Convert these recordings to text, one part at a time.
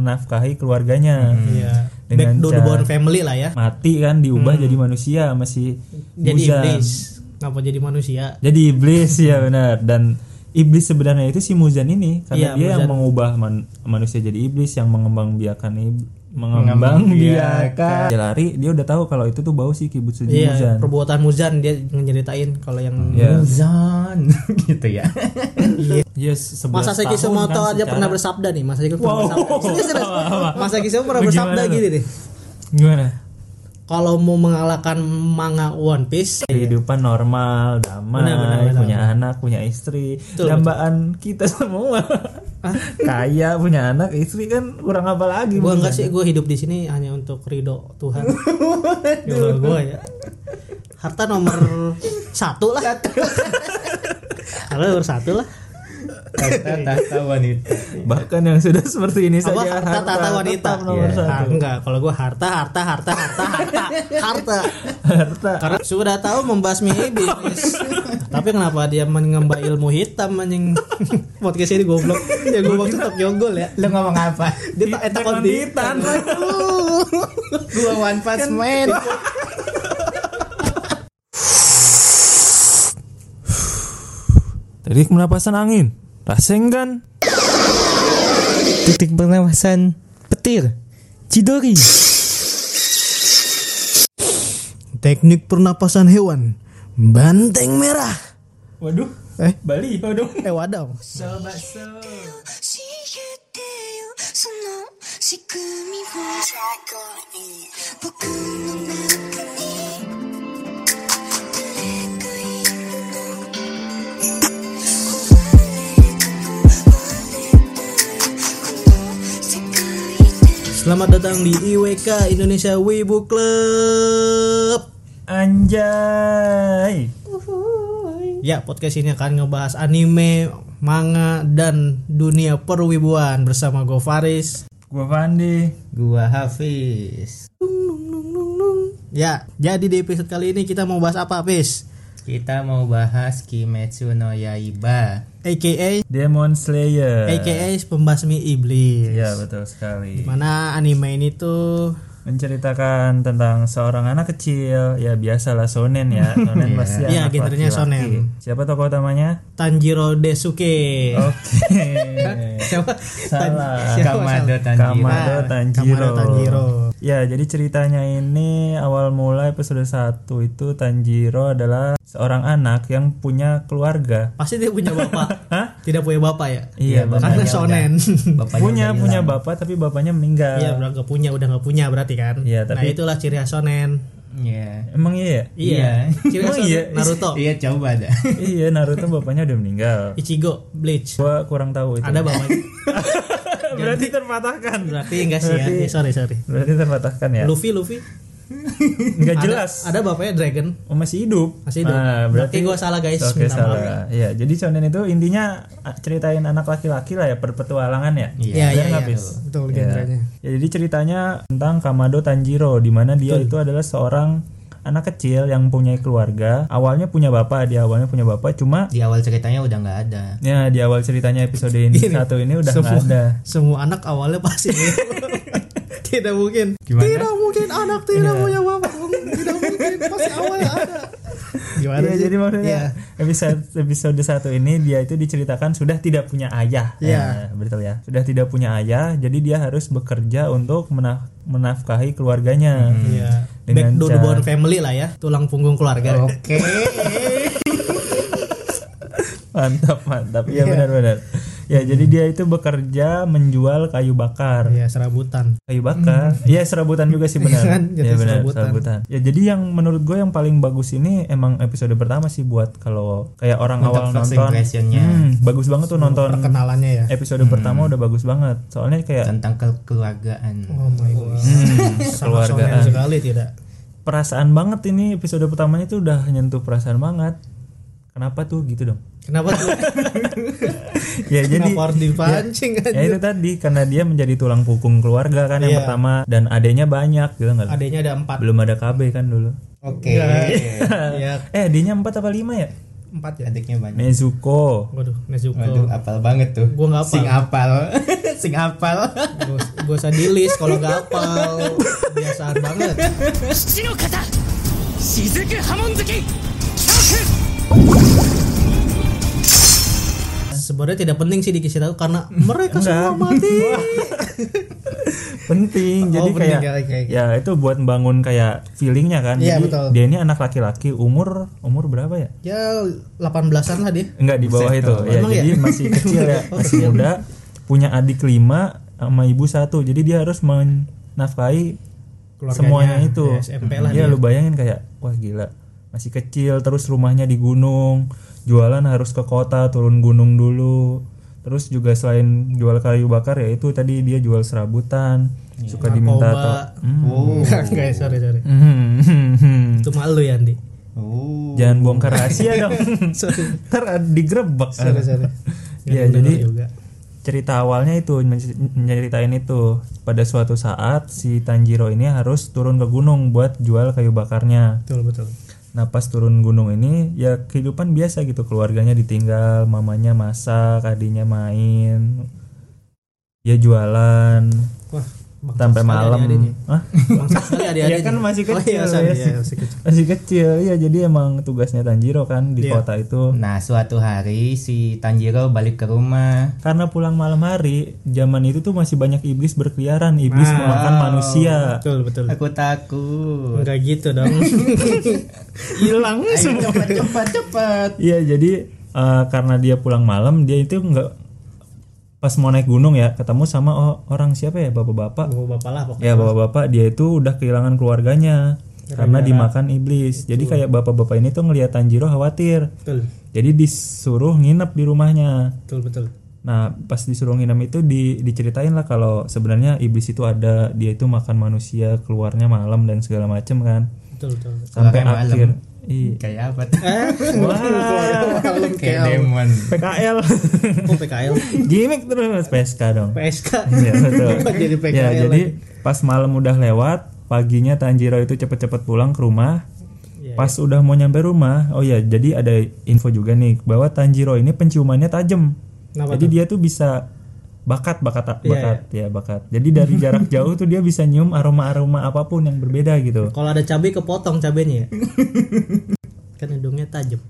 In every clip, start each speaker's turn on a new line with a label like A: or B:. A: menafkahi keluarganya
B: Iya. Back
A: Dengan
B: to the
A: cara-
B: born family lah ya.
A: mati kan diubah jadi manusia masih
B: Jadi
A: bujang.
B: iblis. Ngapa jadi manusia?
A: jadi iblis ya benar dan iblis sebenarnya itu si Muzan ini karena
B: Iya,
A: dia yang
B: Muzan.
A: mengubah man- manusia jadi iblis yang mengembangbiakan ib- mengembangbiakan dia lari dia udah tahu kalau itu tuh bau si kibutsu
B: Iya,
A: Muzan
B: perbuatan Muzan dia nyeritain kalau yang
A: Iya.
C: Muzan Ya. gitu ya.
A: yes kan
B: Masa Seki Sumoto aja pernah
A: bersama
B: bersabda nih, Masa Seki pernah
A: Wow.
B: bersabda. Serius, serius.
A: Apa-apa.
B: Masa Seki Sumoto pernah
A: Lu gimana
B: bersabda
A: lu?
B: gini nih.
A: gimana
B: Kalau mau mengalahkan manga One Piece,
A: kehidupan normal damai
B: Iya. Benar, benar, benar,
A: punya anak punya istri dambaan kita semua kaya punya anak istri kan kurang apa lagi
B: gue
A: Muzan?
B: enggak sih, gue hidup di sini hanya untuk ridho Tuhan. Kalau gue ya. Harta nomor satu lah. Harta nomor satu lah.
C: Tahta tahta wanita.
A: bahkan yang sudah seperti ini
B: Apa
A: saja
B: harta tata wanita?
A: tetap nomor
C: Iya.
B: Ah,
A: satu
B: enggak, kalau gue harta, harta, harta, harta, harta, harta.
A: harta
B: Karena sudah tahu membasmi iblis. Tapi kenapa dia mengemba ilmu hitam anjing? Podcast ini goblok. Ya goblok tetap jonggol ya.
C: Lu ngomong apa?
B: Dia tak etak on titan.
C: Gua one pass man.
A: Tadi penapasan angin, rasengan.
C: Titik pernapasan petir. Cidori.
B: Teknik pernapasan hewan. Banteng merah.
A: Waduh,
B: Eh?
A: Bali, waduh.
B: Eh wadau.
D: 教えてよその仕組みを僕の中に誰かいるの壊れた壊れたこの世界
B: Selamat datang di IWK Indonesia
D: で
B: Wibu Club.
A: Anjay.
B: Ya, podcast ini akan ngebahas anime, manga dan dunia perwibuan bersama Go Faris.
A: Gua Pandi.
C: Gua Hafiz.
B: Ya, jadi di episode kali ini kita mau bahas apa, Pis?
C: Kita mau bahas Kimetsu no Yaiba.
B: AKA
A: Demon Slayer.
B: AKA pembasmi iblis.
A: Iya, betul sekali.
B: Mana anime ini tuh
A: Menceritakan tentang seorang anak kecil, ya biasalah shonen ya. Shonen pasti anak
B: Iya, genrenya
A: laki-laki.
B: shonen.
A: Siapa tokoh utamanya?
B: Tanjiro Desuke.
A: Oke.
B: Siapa?
A: Salah.
C: Kamado Tanjiro.
A: Kamado Tanjiro.
B: Kamado Tanjiro.
A: Ya, jadi ceritanya ini awal mula episode 1 itu Tanjiro adalah seorang anak yang punya keluarga.
B: Pasti dia punya bapak.
A: Hah?
B: Tidak punya bapak ya?
A: Iya,
B: Karena
A: bapaknya
B: shonen.
C: Bapaknya
A: punya
C: udah
A: punya
C: hilang.
A: bapak tapi bapaknya meninggal.
B: Iya, udah nggak punya, udah nggak punya berarti kan.
A: Iya, tapi-
B: Nah, itulah ciri khas shonen.
C: Iya.
A: Emang iya ya?
B: Iya. Ciri khas
A: Emang iya?
B: shonen. Naruto,
C: Iya coba dah.
A: iya, Naruto bapaknya udah meninggal.
B: Ichigo, Bleach.
A: Gua kurang tahu itu.
B: Iya. Ada bapaknya.
A: Berarti terpatahkan.
B: Berarti enggak sih ya?
A: Berarti-
B: Eh, sorry, sorry.
A: Berarti terpatahkan ya.
B: Luffy, Luffy.
A: Enggak
B: Ada-
A: jelas.
B: Ada, bapaknya Dragon.
A: Oh, masih hidup.
B: Masih hidup.
A: Nah, berarti
B: Berarti gua salah, guys.
A: Oke,
B: Minta maaf. ya.
A: salah. Iya, jadi shonen itu intinya ah, ceritain anak laki-laki lah ya perpetualangan ya.
B: Iya,
A: Bener
B: iya,
A: nggak,
B: iya.
A: Pis?
B: Betul
A: Iya.
B: genrenya.
A: Ya, jadi ceritanya tentang Kamado Tanjiro di mana dia itu adalah seorang anak kecil yang punya keluarga. Awalnya punya bapak, dia awalnya punya bapak cuma
C: Di awal ceritanya udah nggak ada.
A: ya di awal ceritanya episode ini
B: Gini,
A: satu ini udah nggak
B: semua-
A: ada.
B: Semua anak awalnya pasti tidak mungkin.
C: Gimana?
B: Tidak mungkin anak tidak punya bapak. Tidak mungkin pasti awalnya ada. Gimana
A: Iya,
B: sih?
A: jadi maksudnya
B: Iya.
A: episode episode satu ini dia itu diceritakan sudah tidak punya ayah.
B: Iya.
A: Ya, betul ya. Sudah tidak punya ayah, jadi dia harus bekerja untuk menaf- menafkahi keluarganya.
B: Iya. Back
A: Dengan
B: to the
A: cara-
B: bone family lah ya, tulang punggung keluarga.
C: Oke.
A: Mantap, mantap. Iya benar-benar. Ya, jadi dia itu bekerja menjual kayu bakar.
B: Iya, serabutan.
A: Kayu bakar. Iya, serabutan juga sih benar.
B: Iya kan? Jatuh
A: Iya benar,
B: serabutan.
A: serabutan. Ya, jadi yang menurut gue yang paling bagus ini emang episode pertama sih buat kalau kayak orang
C: Untuk
A: awal
C: first
A: nonton.
C: impression-nya.
A: Hmm, bagus banget tuh nonton
B: Perkenalannya ya.
A: episode pertama udah bagus banget soalnya kayak
C: Tentang kekeluargaan.
B: Oh my god. Sangat
A: keluargaan.
B: shonen sekali tidak.
A: perasaan banget ini episode pertamanya tuh udah nyentuh perasaan banget kenapa tuh gitu dong
B: Kenapa tuh?
A: ya jadi
B: Kenapa harus dipancing
A: ya
B: kan?
A: itu tadi karena dia menjadi tulang punggung keluarga kan yang
B: Iya.
A: pertama dan adenya banyak gitu nggak
B: Adanya ada empat.
A: belum ada KB kan dulu
C: Oke.
B: Iya.
A: eh adenya empat apa lima ya
B: empat ya
C: adiknya banyak
A: Nezuko
B: waduh Nezuko
C: waduh apal banget tuh
B: Gua nggak apal.
C: sing apal sing apal
B: gue usah di list kalau nggak hafal biasaan banget
E: 父の方雫波紋月恐怖
B: sebenarnya tidak penting sih dikasih tahu karena mereka semua
A: Hmm. Enggak.
B: mati
A: penting
C: Oh,
A: jadi
C: penting,
A: kayak
C: ya, oke, oke.
A: ya itu buat membangun kayak feelingnya kan
B: gitu. Iya,
A: Jadi,
B: betul.
A: dia ini anak laki-laki umur umur berapa ya
B: ya 18an lah dia
A: enggak di bawah
C: Buset,
A: itu
C: kalau
A: ya
B: emang
A: jadi
B: ya?
A: masih kecil ya masih muda punya adik lima sama ibu satu jadi dia harus menafkahi
B: Keluarganya,
A: semuanya itu
B: ya, SMP lah
A: Iya,
B: dia.
A: lu bayangin kayak wah gila masih kecil terus rumahnya di gunung jualan harus ke kota turun gunung dulu terus juga selain jual kayu bakar ya itu tadi dia jual serabutan suka diminta
B: Iya. Narkoba.
A: to- Hmm.
C: wow
B: Enggak, sorry sorry itu malu ya Andi
C: wow
A: jangan bongkar rahasia dong
B: sorry
A: ntar digrebek
B: sorry sorry
A: ya
B: Nggak
A: jadi
B: denger juga.
A: cerita awalnya itu menc- nyeritain itu pada suatu saat si Tanjiro ini harus turun ke gunung buat jual kayu bakarnya.
B: betul betul
A: Nah pas turun gunung ini ya kehidupan biasa gitu keluarganya ditinggal, mamanya masak, adiknya main, ya jualan
B: wah bangsa
A: sampai
B: sekali
A: malam.
B: adik-adiknya.
A: Hah?
B: bangsa sekali adik-adiknya.
A: Ya kan masih
B: Oh, iya,
A: kecil,
B: sorry,
A: ya.
B: iya, masih kecil
A: Masih kecil ya jadi emang tugasnya Tanjiro kan di
B: Iya.
A: kota itu.
C: nah suatu hari si Tanjiro balik ke rumah
A: Karena pulang malam hari, zaman itu tuh masih banyak iblis berkeliaran, iblis
B: Wow.
A: memakan manusia.
B: betul betul
C: aku takut
B: Enggak gitu dong
A: Hilang
C: Ayo cepat cepat cepat
A: Iya jadi eh, karena dia pulang malam dia itu nggak pas mau naik gunung ya ketemu sama o- orang siapa ya bapak-bapak
B: bapak bapak lah pokoknya
A: ya bapak-bapak dia itu udah kehilangan keluarganya karena dimakan iblis jadi kayak bapak-bapak ini tuh ngelihat Tanjiro khawatir
B: betul
A: jadi disuruh nginep di rumahnya
B: betul betul
A: nah pas disuruh nginep itu di- diceritain lah kalau sebenarnya iblis itu ada dia itu makan manusia keluarnya malam dan segala macem kan
B: betul betul
A: sampai
C: Keluarnya malam.
A: akhir Iya.
C: kayak apa tuh
B: Malam
C: kayak
B: kayak
C: demon
A: PKL
B: oh PKL
A: gimmick terus PSK dong
B: PSK
A: Iya, betul.
B: Kok jadi PKL
A: ya
B: lagi?
A: jadi pas malam udah lewat paginya Tanjiro itu cepet-cepet pulang ke rumah
B: Iya,
A: pas udah mau nyampe rumah oh ya jadi ada info juga nih bahwa Tanjiro ini penciumannya tajam
B: Kenapa
A: jadi dia tuh bisa bakat bakat bakat ya
B: Iya,
A: bakat jadi dari jarak jauh tuh dia bisa nyium aroma aroma apapun yang berbeda gitu
B: kalau ada cabai kepotong cabainya ya kan hidungnya tajam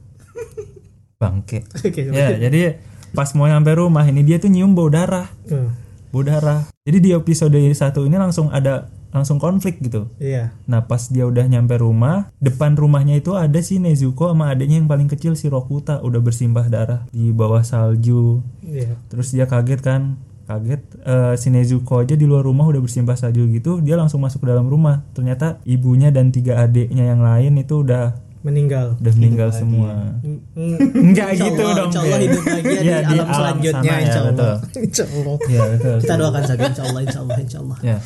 A: bangke
B: oke
A: ya jadi pas mau nyampe rumah ini dia tuh nyium bau darah
B: Hmm,
A: bau darah jadi di episode satu ini langsung ada langsung konflik gitu
B: iya
A: Nah pas dia udah nyampe rumah Depan rumahnya itu ada si Nezuko sama adiknya yang paling kecil si Rokuta Udah bersimbah darah di bawah salju
B: iya
A: Terus dia kaget kan Kaget eh, si Nezuko aja di luar rumah udah bersimbah salju gitu Dia langsung masuk ke dalam rumah Ternyata ibunya dan tiga adiknya yang lain itu udah
B: meninggal
A: udah meninggal semua Nggak
B: Insya
A: gitu
B: Allah,
A: dong,
B: insya Allah
A: Bel.
B: hidup bahagia
A: Ya,
B: di,
A: di
B: alam
A: alam
B: selanjutnya
A: sana,
B: insya
A: ya,
B: Allah
A: betul.
B: insya Allah
A: Ya betul
B: kita doakan saja insya Allah insya Allah insya Allah
A: Ya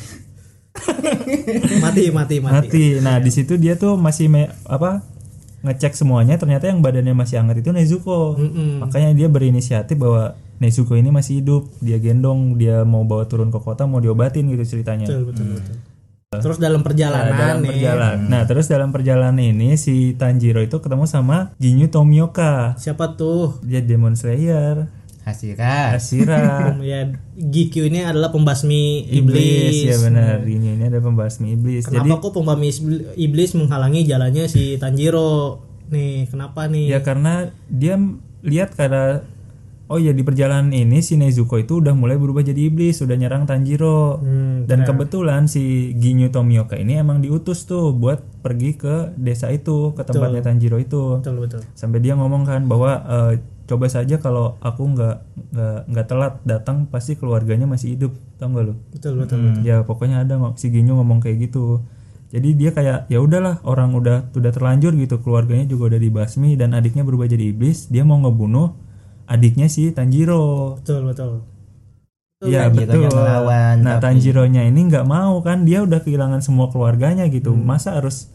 B: mati mati mati
A: mati. Nah di situ dia tuh masih me- apa ngecek semuanya. Ternyata yang badannya masih hangat itu Nezuko.
B: Mm-mm.
A: Makanya dia berinisiatif bahwa Nezuko ini masih hidup. Dia gendong, dia mau bawa turun ke kota, mau diobatin gitu ceritanya.
B: betul betul betul terus dalam perjalanan
A: Nah, dalam
B: nih
A: perjalanan. Nah terus dalam perjalanan ini si Tanjiro itu ketemu sama Ginyu Tomioka.
B: siapa tuh
A: Dia Demon Slayer, Ah.
C: Hasira
A: Asira.
B: ya GQ ini adalah pembasmi
A: Iblis,
B: iblis
A: ya benar. Ginyu ini ada pembasmi iblis. Jadi
B: Kenapa kok pembasmi is- iblis menghalangi jalannya si Tanjiro? Nih, kenapa
A: Ya
B: nih?
A: karena dia m- lihat karena oh ya di perjalanan ini si Nezuko itu udah mulai berubah jadi iblis, sudah nyerang Tanjiro.
B: Hmm,
A: Dan kebetulan si Ginyu Tomioka ini emang diutus tuh buat pergi ke desa itu, ke tempatnya Tanjiro itu.
B: betul betul.
A: Sampai dia ngomong kan bahwa eh, coba saja kalau aku nggak nggak nggak telat datang pasti keluarganya masih hidup, tau nggak lu?
B: Betul betul.
A: Ya pokoknya ada ngo- si Ginyu ngomong kayak gitu. Jadi dia kayak ya udahlah orang udah udah terlanjur gitu keluarganya juga udah dibasmi dan adiknya berubah jadi iblis dia mau ngebunuh adiknya si Tanjiro.
B: Betul betul.
A: Iya
C: Tanjiro
A: betul.
C: yang ngelawan,
A: nah
C: tapi-
A: Tanjironya ini nggak mau kan dia udah kehilangan semua keluarganya gitu masa harus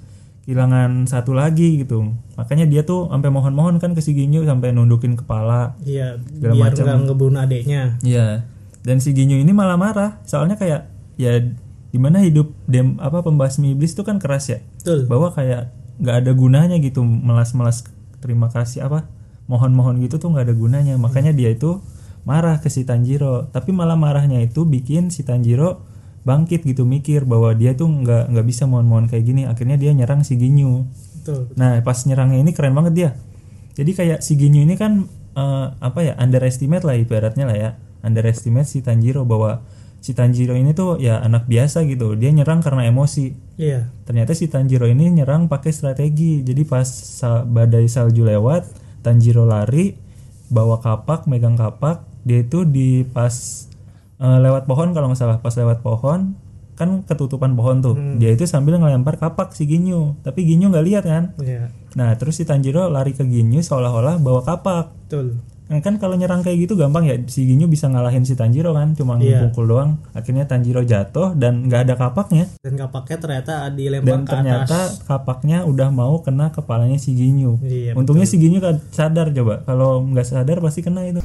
A: kehilangan satu lagi gitu makanya dia tuh sampai mohon-mohon kan ke si Ginyu sampai nundukin kepala
B: Iya,
A: Segala
B: biar
A: macam.
B: nggak ngebunuh adeknya.
A: Iya. Dan si Ginyu ini malah marah, soalnya kayak ya dimana hidup dem apa pembasmi iblis itu kan keras ya,
B: Betul.
A: bahwa kayak nggak ada gunanya gitu melas-melas terima kasih apa mohon-mohon gitu tuh nggak ada gunanya makanya dia itu marah ke si Tanjiro tapi malah marahnya itu bikin si Tanjiro bangkit gitu mikir bahwa dia tuh nggak nggak bisa mohon-mohon kayak gini akhirnya dia nyerang si Ginyu
B: Betul.
A: Nah, pas nyerangnya ini keren banget dia. Jadi kayak si Ginyu ini kan eh, apa ya underestimate lah ibaratnya lah ya. Underestimate si Tanjiro bahwa si Tanjiro ini tuh ya anak biasa gitu. Dia nyerang karena emosi.
B: Iya.
A: Ternyata si Tanjiro ini nyerang pakai strategi. Jadi pas sa- badai salju lewat, Tanjiro lari, bawa kapak, megang kapak. Dia itu di pas eh, lewat pohon kalau nggak salah, pas lewat pohon kan ketutupan pohon tuh. Dia itu sambil ngelempar kapak si Ginyu, tapi Ginyu nggak lihat kan.
B: Iya.
A: Nah, terus si Tanjiro lari ke Ginyu seolah-olah bawa kapak.
B: Betul.
A: Nah, kan kalau nyerang kayak gitu gampang ya si Ginyu bisa ngalahin si Tanjiro kan, cuma
B: Iya.
A: pukul doang. Akhirnya Tanjiro jatuh dan nggak ada kapaknya.
B: Dan kapaknya ternyata dilempar
A: Dan
B: ke atas.
A: ternyata kapaknya udah mau kena kepalanya si Ginyu.
B: Iya,
A: Untungnya si Ginyu kan sadar coba. Kalau nggak sadar pasti kena itu.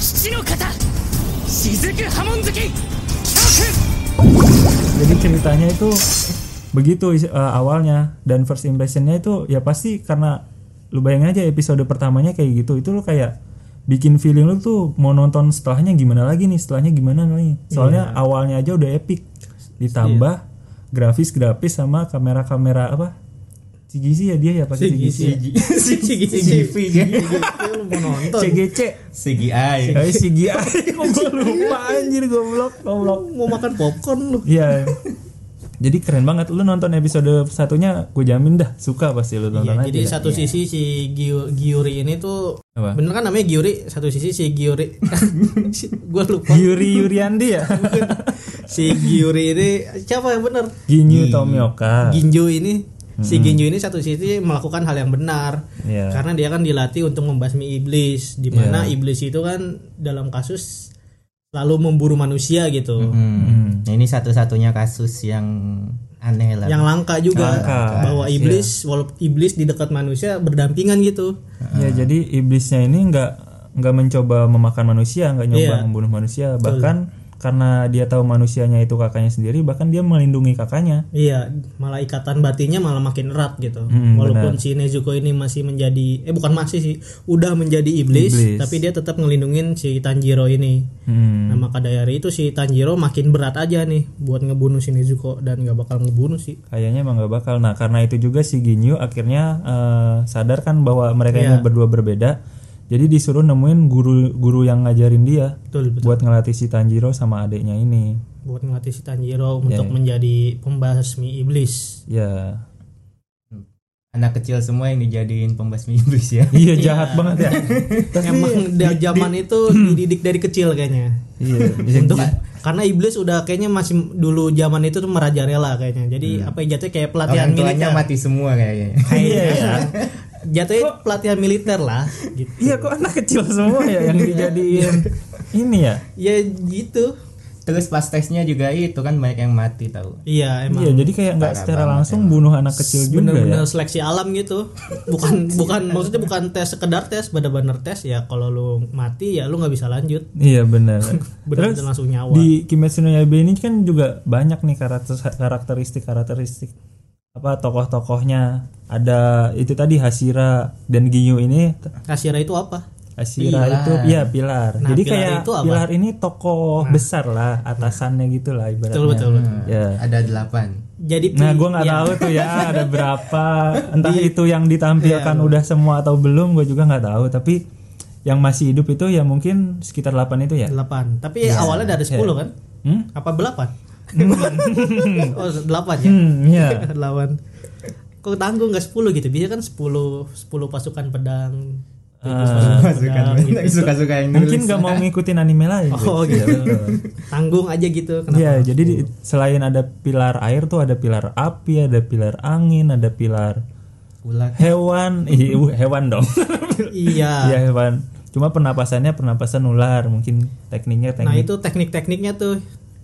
E: 七の型雫波紋月諸君
A: Jadi ceritanya itu begitu is- eh, awalnya dan first impressionnya itu ya pasti karena lu bayangin aja episode pertamanya kayak gitu itu lu kayak bikin feeling lu tuh mau nonton setelahnya gimana lagi nih setelahnya gimana
B: Iya.
A: nih soalnya awalnya aja udah epic ditambah grafis grafis sama kamera kamera apa CGC ya dia ya pakai CGC
B: Sigi. Sigi. Sigi. Lu mau nonton.
A: CGC
C: CGI.
A: Eh, CGI kok gua lupa anjir goblok goblok
B: Mau makan popcorn lu.
A: Iya. Jadi keren banget lu nonton episode satunya, gue jamin dah suka pasti lu nonton
B: Iya,
A: aja. kan,
B: jadi satu sisi si Giu- Giuri ini tuh
A: Apa?
B: bener kan namanya Giuri satu sisi si Giuri gue lupa
A: Yuri Yuriandi ya.
B: si Giuri ini siapa yang bener
A: Iya. Ginyu Tomioka.
B: Ginju ini si Ginju ini satu sisi melakukan hal yang benar
A: Iya.
B: karena dia kan dilatih untuk membasmi iblis di mana iblis itu kan dalam kasus lalu memburu manusia gitu
C: Hmm. Ini satu-satunya kasus yang aneh lah.
B: yang langka juga
A: Langka. Iya.
B: bahwa iblis walaupun iblis di dekat manusia berdampingan gitu
A: Ya jadi iblisnya ini nggak nggak mencoba memakan manusia, nggak nyoba
B: Iya.
A: membunuh manusia, bahkan karena dia tahu manusianya itu kakaknya sendiri, bahkan dia melindungi kakaknya.
B: Iya, malah ikatan batinnya malah makin erat gitu.
A: Hmm,
B: Walaupun si Nezuko ini masih menjadi eh bukan masih sih, udah menjadi iblis,
A: Iblis.
B: tapi dia tetap ngelindungin si Tanjiro ini.
A: Hmm.
B: Nah, maka dari itu si Tanjiro makin berat aja nih buat ngebunuh si Nezuko dan nggak bakal ngebunuh sih.
A: Kayaknya emang nggak bakal. Nah karena itu juga si Ginyu akhirnya eh, sadar kan bahwa mereka ini
B: Iya.
A: berdua berbeda. Jadi disuruh nemuin guru-guru yang ngajarin dia
B: Betul, betul.
A: buat ngelatih si Tanjiro sama adiknya ini.
B: Buat ngelatih
A: Iya,
B: si Tanjiro untuk menjadi pembasmi iblis.
A: Ya.
C: Anak kecil semua yang dijadiin pembasmi iblis ya.
A: Iya jahat banget ya. Tapi
B: Emang dari zaman itu dididik dari kecil kayaknya.
A: iya
B: Untuk karena iblis udah kayaknya masih dulu zaman itu tuh merajalela kayaknya. Jadi
A: Hmm.
B: apa yang jatuhnya kayak pelatihan
C: Orang tuanya
B: militer.
C: mati semua kayaknya.
A: Iya,
B: Kayaknya Iya. jatuhnya pelatihan militer lah gitu.
A: Iya kok anak kecil semua ya yang
B: Iya.
A: dijadiin ini ya.
B: Ya gitu.
C: Terus pas tesnya juga itu kan banyak yang mati tahu.
B: Iya emang.
A: Iya jadi kayak nggak
C: Parah
A: secara
C: banget
A: langsung bunuh anak kecil juga
B: Bener-bener
A: ya.
B: seleksi alam gitu. Bukan bukan maksudnya bukan tes sekedar tes, bener-bener tes ya kalau lu mati ya lu nggak bisa lanjut.
A: Iya benar.
B: Bener-bener
A: Terus
B: langsung nyawa.
A: di Kimetsu no Yaiba ini kan juga banyak nih karakter karakteristik karakteristik apa tokoh-tokohnya ada itu tadi Hashira dan Ginyu ini
B: Kasira itu
A: Nah.
B: apa?
A: Hashira
C: Pilar.
A: itu iya pilar
B: Nah,
A: jadi
B: pilar
A: kayak
B: itu apa? Nah.
A: pilar ini tokoh besar lah atasannya gitu lah ibaratnya
B: Betul betul. betul.
A: ya
C: Hmm. Ada delapan.
B: Jadi
A: Nah,
B: pi-
A: gue nggak
B: ya,
A: tahu tuh ya ada berapa. Entah itu yang ditampilkan
B: Iya.
A: udah semua atau belum, gue juga nggak tahu. Tapi yang masih hidup itu ya mungkin sekitar 8 itu ya.
B: delapan. Tapi awalnya dari 10 kan?
A: Hmm?
B: Apa belapan? oh, delapan ya.
A: Hmm, ya.
B: lawan kok tangguh nggak 10 gitu biasanya kan 10 10 pasukan pedang tujuh
A: Ah.
B: pasukan pedang gitu.
C: Suka-suka yang nulis.
A: Mungkin nggak mau ngikutin anime lain.
B: oh
A: Iya,
B: gitu
A: betul.
B: tanggung aja gitu kenapa
A: Iya, jadi di- selain ada pilar air tuh ada pilar api, ada pilar angin, ada pilar
C: Ular.
A: hewan, Ih, uh, hewan dong.
B: iya
A: Iya hewan. Cuma pernapasannya pernapasan ular, mungkin tekniknya teknik
B: nah itu teknik-tekniknya tuh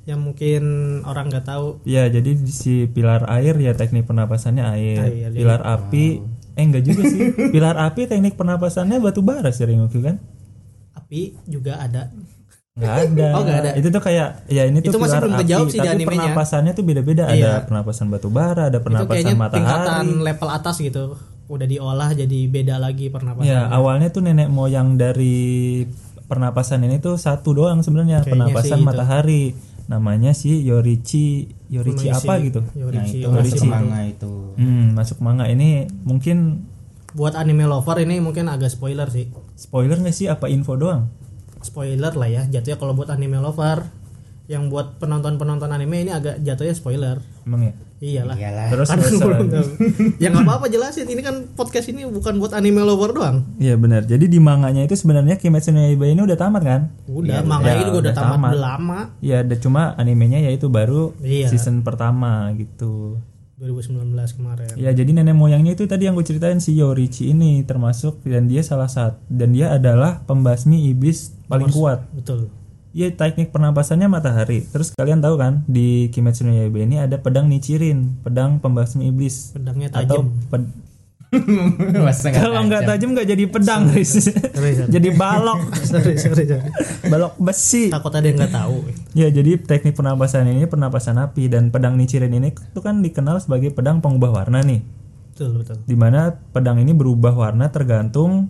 B: yang mungkin orang nggak tahu
A: Ya, jadi di- si pilar air ya teknik pernapasannya air.
B: Air, iya,
A: pilar api eh enggak juga sih. pilar api teknik pernapasannya batu bara Seringoku kan?
B: api juga ada
A: Enggak ada.
B: Oh, nggak ada.
A: Itu tuh kayak ya ini tuh
B: Itu masih
A: pilar
B: belum
A: api,
B: kejawab sih di
A: tapi
B: animenya.
A: pernapasannya tuh beda-beda. Ada pernapasan batu bara, ada
B: itu
A: pernapasan
B: kayaknya tingkatan
A: matahari.
B: level atas gitu udah diolah jadi beda lagi pernapasan.
A: Ya awalnya tuh nenek moyang dari pernapasan ini tuh satu doang sebenarnya
B: Kayaknya
A: pernapasan
B: sih itu.
A: matahari namanya si Yorichi Yorichi
B: Yorichi,
A: apa gitu.
B: Yorichi,
C: Nah itu
B: Yorichi.
C: masuk manga itu.
A: Hmm, masuk manga ini mungkin
B: Buat anime lover ini mungkin agak spoiler sih.
A: spoiler nggak sih apa info doang?
B: Spoiler lah ya jatuhnya kalau buat anime lover yang buat penonton-penonton anime ini agak jatuhnya spoiler.
A: Emang ya.
B: Iyalah.
C: Iyalah.
A: Terus
B: Kan belum
A: masalah-
B: tahu. ya nggak apa-apa jelasin ini kan podcast ini bukan buat anime lover doang.
A: Iya benar. Jadi di manganya itu sebenarnya Kimetsu no Yaiba ini udah tamat kan?
B: Udah,
A: Ya,
B: manga
A: udah,
B: ini juga udah
A: udah
B: tamat,
A: tamat.
B: lama
A: Iya, ada cuma animenya yaitu baru
B: Iya.
A: season pertama gitu.
B: 2019 kemarin.
A: Ya jadi nenek moyangnya itu tadi yang gue ceritain si Yorichi ini termasuk dan dia salah satu dan dia adalah pembasmi iblis paling kuat.
B: Betul.
A: Iya teknik pernapasannya matahari. Terus kalian tahu kan di Kimetsu no Yaiba ini ada pedang Nichirin, pedang pembasmi iblis.
B: Pedangnya
A: Atau
B: tajam.
A: ped-
C: Masa nggak
A: kalau nggak
C: tajam.
A: tajam nggak jadi pedang, Riz. jadi balok,
B: sorry, sorry, sorry.
A: balok besi.
B: Takut ada yang nggak tahu.
A: Ya jadi teknik pernapasan ini pernapasan api dan pedang Nichirin ini itu kan dikenal sebagai pedang pengubah warna nih.
B: Betul, betul.
A: Dimana pedang ini berubah warna tergantung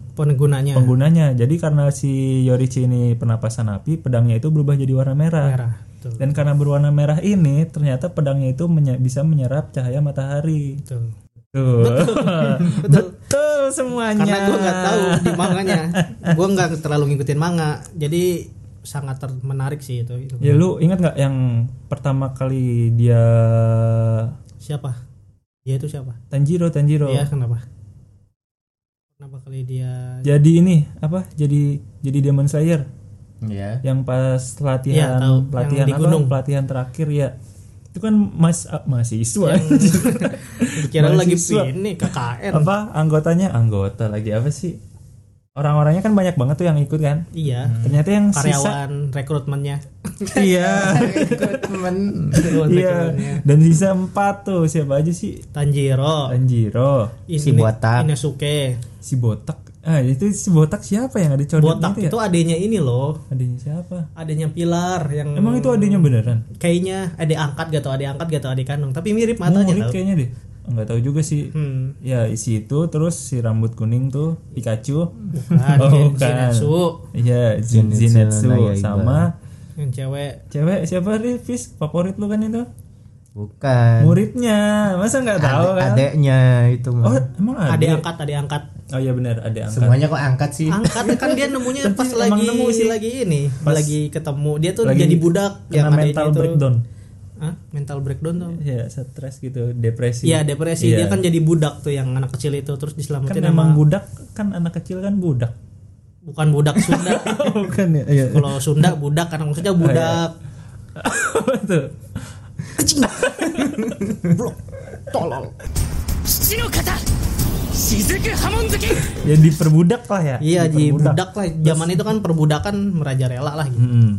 A: Iya.
B: Penggunanya
A: penggunanya. Jadi karena si Yorichi ini pernapasan api, pedangnya itu berubah jadi warna merah.
B: merah. Betul,
A: Dan karena berwarna merah ini, ternyata pedangnya itu menye- bisa menyerap cahaya matahari.
B: betul.
A: Tuh. Betul. semuanya.
B: Karena gua nggak tahu di manganya. Gua nggak terlalu ngikutin manga. Jadi sangat ter- menarik sih itu. itu.
A: Ya lu ingat nggak yang pertama kali dia
B: Siapa? Dia itu siapa?
A: Tanjiro Tanjiro.
B: Dia kenapa? Kenapa kali dia
A: Jadi ini apa? Jadi jadi Demon Slayer
C: Iya.
A: yang pas latihan
B: Iya, tahu. Yang
A: pelatihan
B: di
A: apa?
B: gunung.
A: Pelatihan terakhir ya. Itu kan mas ah, mahasiswa.
B: kira lagi
A: mahasiswa.
B: ini KKN?
A: apa anggotanya? Anggota lagi apa sih? Orang-orangnya kan banyak banget tuh yang ikut kan.
B: Iya.
A: Ternyata yang sisa
B: Karyawan rekrutmennya.
A: Iya.
C: Temen.
B: Karyawan
A: Iya.
B: rekrutmennya.
A: Dan sisa empat tuh siapa aja sih?
B: Tanjiro.
A: Tanjiro,
B: Ini-
C: Si botak.
B: Inosuke.
A: si botak. Ah itu si botak siapa yang ada codot
B: Botak
A: gitu ya?
B: itu adanya ini loh.
A: Adanya siapa?
B: Adanya Pilar yang
A: Emang itu adanya
B: Hmm.
A: beneran?
B: kayaknya adik angkat gak tau adik angkat gak tau adik kandung tapi mirip matanya
A: Murid
B: tau.
A: kayaknya deh. Enggak tahu juga sih.
B: Hmm.
A: Ya isi itu terus si rambut kuning tuh Pikachu.
B: Bukan,
A: Oh, bukan.
B: Jin- Shinatsu
A: Iya, Jin-
C: Zenitsu
A: Zenitsu
C: no Yaiba.
A: sama
B: yang cewek.
A: cewek siapa Rifis favorit lu kan itu?
C: Bukan.
A: Muridnya. Masa nggak tahu kan?
C: Adeknya itu mah.
A: Oh, emang ada.
B: Adik angkat, adik angkat.
A: Oh iya benar, ada angkat.
C: Semuanya kok angkat sih?
B: Angkat kan dia nemunya
A: Tapi
B: pas
A: emang
B: lagi
A: nemu sih.
B: lagi ini, lagi ketemu. Dia tuh
A: Lagi
B: jadi budak
A: Kena
B: adiknya
A: mental
B: itu-
A: breakdown.
B: Hah? Mental breakdown tuh.
A: Ya, stres gitu, depresi.
B: Iya, depresi.
A: Iya.
B: Dia kan jadi budak tuh yang anak kecil itu terus
A: kan
B: diselamatin sama
A: emang budak kan anak kecil kan budak.
B: bukan budak Sunda.
A: Bukan ya? Iya.
B: Kalau Sunda budak karena maksudnya budak.
A: Apa tuh?
E: 父の方雫波紋月
A: Ya diperbudak lah ya.
B: Iya, jadi
A: Diperbudak.
B: budak lah. Zaman itu kan perbudakan merajalela lah gitu.
A: Mm-mm.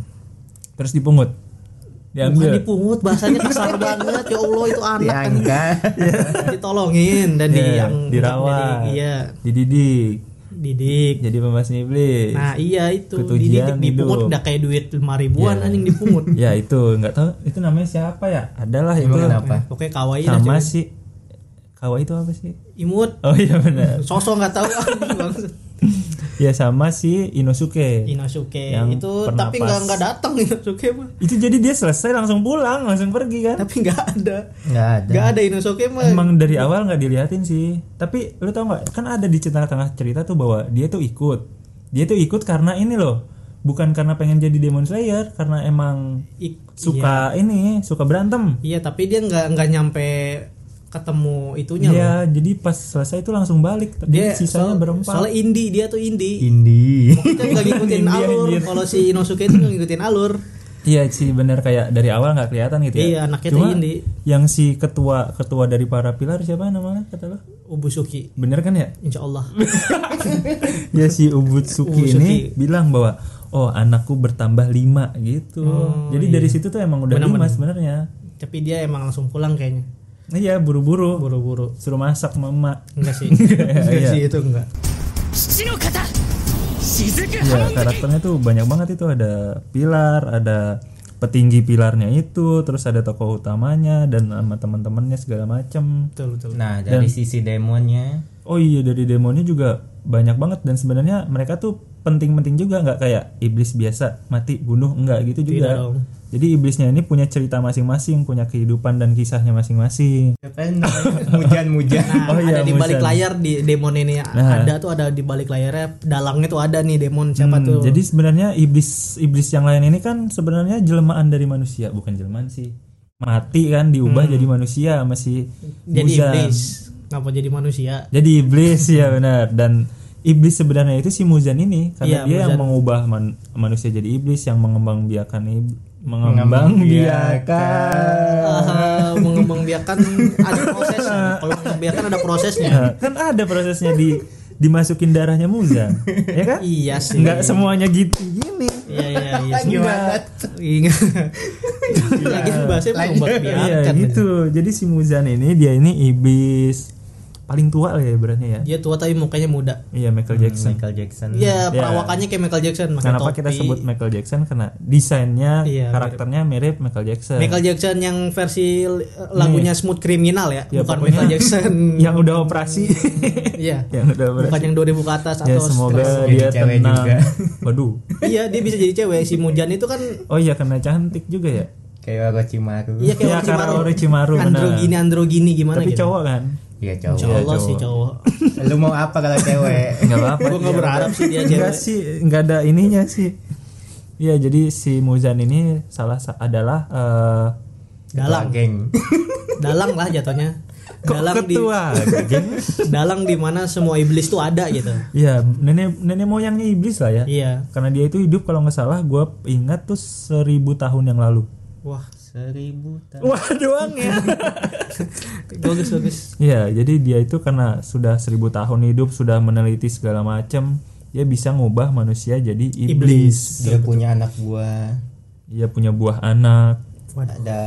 A: Terus dipungut.
B: Bukan
A: Diambil.
B: dipungut bahasanya kasar banget ya Allah itu anak kan
C: Diangkat.
B: ditolongin dan di
A: Iya,
B: yang
A: dirawat.
B: jadi- iya
A: Dididik.
B: didik
A: Jadi pembasmi iblis.
B: nah iya itu
A: Ketujian
B: dididik
A: hidup.
B: dipungut udah kayak duit lima ribuan
A: Iya.
B: anjing dipungut
A: Ya itu nggak tahu itu namanya siapa ya? Adalah itu.
C: Emang kenapa?
B: pokoknya kawaii lah
A: Sama
B: cuy.
A: si Kawa itu apa sih?
B: imut
A: Oh iya benar.
B: sosok nggak tahu anjing banget.
A: ya sama si Inosuke.
B: Inosuke
A: Yang
B: itu
A: pernapas.
B: tapi nggak nggak datang Inosuke mah
A: itu jadi dia selesai langsung pulang, langsung pergi kan?
B: tapi nggak ada
C: Enggak ada.
B: nggak ada Inosuke mah
A: Emang dari awal nggak diliatin sih. Tapi lu tau nggak? Kan ada di tengah-tengah cerita tuh bahwa dia tuh ikut. Dia tuh ikut karena ini loh. Bukan karena pengen jadi Demon Slayer, karena emang
B: I-
A: suka ini, suka berantem.
B: iya tapi dia nggak nggak nyampe ketemu itunya loh
A: Iya, jadi pas selesai itu langsung balik. Dia sisanya
B: soal-
A: berempat.
B: soalnya indie dia tuh indie
C: Indi.
B: kita nggak ngikutin
A: India,
B: alur
A: anjir.
B: kalau si Inosuke itu nggak ngikutin alur
A: Iya sih bener kayak dari awal nggak kelihatan gitu ya.
B: Iya, anaknya tuh indie.
A: yang si ketua ketua dari para pilar siapa namanya kata lo?
B: Ubusuki
A: Bener kan ya?
B: Insya Allah
A: ya si Ubutsuki
B: Ubutsuki.
A: ini bilang bahwa oh anakku bertambah lima gitu. Jadi dari situ tuh emang udah lima sebenarnya.
B: tapi dia emang langsung pulang kayaknya
A: Iya buru-buru
B: buru-buru
A: suruh masak mama.
B: enggak sih
A: Iya,
B: enggak
A: iya.
B: sih itu enggak
E: 父の方雫波紋
A: Iya
E: 月
A: karakternya tuh banyak banget itu ada pilar ada petinggi pilarnya itu terus ada tokoh utamanya dan sama teman-temannya segala macem
B: betul betul
C: Nah, dari sisi demonnya
A: oh iya dari demonya juga banyak banget dan sebenarnya mereka tuh penting-penting juga nggak kayak iblis biasa mati bunuh nggak gitu juga
B: dong.
A: jadi iblisnya ini punya cerita masing-masing punya kehidupan dan kisahnya masing-masing
C: siapa yang mujan-mujan.
B: Nah,
A: Oh iya,
B: ada di balik
A: Musan. Nah.
B: layar di demon ini ada tuh ada di balik layarnya dalangnya tuh ada nih demon siapa tuh
A: Hmm, jadi sebenarnya iblis iblis yang lain ini kan sebenarnya jelmaan dari manusia bukan jelmaan sih mati kan diubah jadi manusia masih
B: Hmm. jadi iblis ngapa jadi manusia
A: jadi iblis ya benar dan iblis sebenarnya itu si Muzan ini karena
B: Iya,
A: dia yang
B: Muzan.
A: mengubah man- manusia jadi iblis yang mengembang biakan ib- mengembang biakan
B: Ah, mengembangbiakan ada prosesnya kalau mengembangbiakan ada prosesnya
A: kan ada prosesnya di dimasukin darahnya Muzan ya kan
B: iya sih
A: nggak semuanya gitu gini
B: iya iya iya
C: Gimana?
B: Ingat. lagi tuh bahasnya
A: iya
B: mengembangbiakan
A: gitu jadi si Muzan ini dia ini iblis paling tua lah ya beratnya ya
B: dia tua tapi mukanya muda
A: iya Michael Jackson
C: Michael Jackson.
B: Iya, perawakannya kayak Hmm, Michael Jackson pakai
A: kenapa
B: topi.
A: kita sebut Michael Jackson karena desainnya
B: Iya,
A: karakternya mirip Michael Jackson
B: Michael Jackson yang versi lagunya Smooth Criminal ya,
A: Ya,
B: bukan
A: pokoknya Ya.
B: Michael Jackson.
A: yang udah operasi
B: Iya.
A: yang udah operasi
B: bukan yang 2000 ke atas
A: ya
B: atau
A: semoga
B: stress.
C: Jadi
A: dia
C: cewek
A: tenang
C: juga.
A: waduh
B: Iya, dia bisa jadi cewek. Si Mujan itu kan
A: oh iya karena cantik juga ya
C: Kayak Orochimaru.
B: iya
A: Iya,
B: kayak
A: karena Orochimaru, benar.
B: Androgini androgini gimana
A: tapi
B: gitu.
A: cowok kan
C: Iya,
B: Insya
C: cowok.
A: Iya,
B: Allah sih
A: cowok.
B: cowok.
C: Lu mau apa kalau cewek?
A: nggak apa-apa
B: Gua nggak
A: dia.
B: berharap sih dia
A: Nggak
B: cewek.
A: sih nggak ada ininya sih Iya jadi si Muzan ini salah sa- adalah eh,
B: Dalang,
C: geng.
B: dalang lah jatuhnya.
A: kok
B: Dalang di
A: ketua geng?
B: dalang di mana semua iblis tuh ada gitu.
A: Iya nenek nenek moyangnya iblis lah ya
B: Iya.
A: karena dia itu hidup kalau nggak salah gue ingat tuh seribu tahun yang lalu
B: Wah,
C: Seribu tahun.
A: wah doang ya
B: bagus bagus.
A: Iya, jadi dia itu karena sudah seribu tahun hidup, sudah meneliti segala macam, dia bisa ngubah manusia jadi iblis.
C: Dia punya anak buah.
A: Dia punya buah anak.
B: Waduh.
C: Ada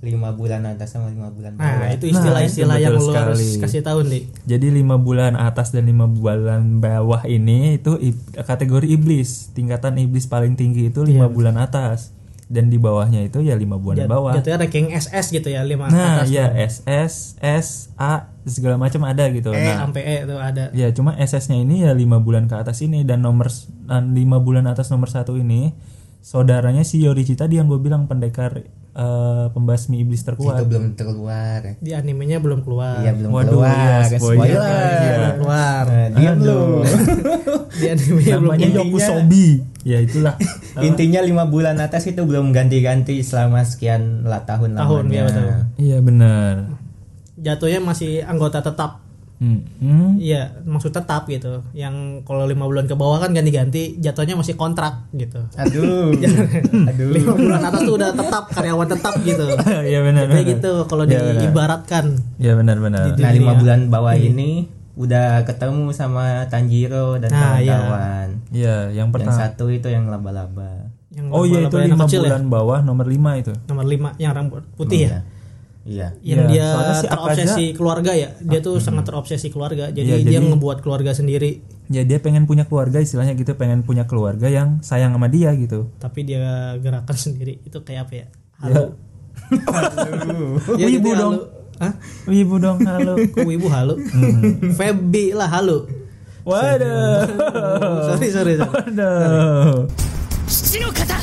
C: lima bulan atas sama lima bulan bawah.
B: Nah, itu
A: Nah,
B: istilah-istilah
A: itu
B: yang
A: betul
B: lu harus
A: sekali.
B: kasih tahu nih.
A: Jadi lima bulan atas dan lima bulan bawah ini itu ib- kategori iblis. Tingkatan iblis paling tinggi itu lima bulan atas dan di bawahnya itu ya lima bulan bawah.
B: Iya, Jatuhnya ranking SS gitu ya, 5
A: Nah, ya SS, S, A segala macam ada gitu.
B: E
A: Nah,
B: sampai E tuh ada.
A: Ya cuma SS-nya ini ya lima bulan ke atas ini dan nomor dan lima bulan atas nomor satu ini saudaranya si Yorichi tadi yang gue bilang pendekar eh, pembasmi iblis
C: Itu
A: terkuat.
C: belum keluar.
B: Di animenya belum keluar.
C: Iya, belum
A: Waduh,
C: keluar.
A: iya, spoiler.
C: spoiler.
A: Iya, belum
B: keluar.
C: Nah, diam lu.
B: Di animenya belum
A: Namanya
B: keluar.
A: Yokusobi. Ya itulah. Apa?
C: Intinya lima bulan atas itu belum ganti-ganti selama sekian lah tahun
B: Tahun, iya, betul.
A: Iya benar.
B: Jatuhnya masih anggota tetap.
A: Hmm, hmm.
B: Iya, maksud tetap gitu. Yang kalau lima bulan ke bawah kan ganti-ganti, jatuhnya masih kontrak gitu.
C: Aduh. Aduh.
B: Lima bulan atas tuh udah tetap karyawan tetap gitu.
A: Iya benar. benar.
B: Kayak gitu kalau
A: Iya, benar.
B: diibaratkan.
A: Iya benar-benar.
C: Nah, lima
B: Iya.
C: bulan bawah ini udah ketemu sama Tanjiro dan
B: Nah, iya.
C: kawan-kawan.
A: Iya yang
C: Yang
A: pertama.
C: satu itu yang laba-laba.
B: Yang
A: Oh iya itu
B: laba-laba anak
A: lima
B: kecil
A: bulan bawah nomor lima itu.
B: Ya? Nomor lima yang rambut putih ya.
C: Iya.
A: Iya,
B: yang dia
A: soalnya si
B: terobsesi keluarga ya dia tuh sangat terobsesi keluarga jadi
A: Ah, hmm. Iya,
B: dia
A: jadi-
B: ngebuat keluarga sendiri
A: Ya dia pengen punya keluarga istilahnya gitu pengen punya keluarga yang sayang sama dia gitu.
B: tapi dia gerakan sendiri itu kayak apa ya
A: Ya.
B: halu ya,
A: Wibu
B: jadi
A: dong.
B: halu. Hah?
A: Ibu dong halo.
B: Kok wibu halu
A: Hmm.
B: Febi lah halu
A: Waduh.
B: sorry sorry, sorry.
A: Waduh.
E: 七の型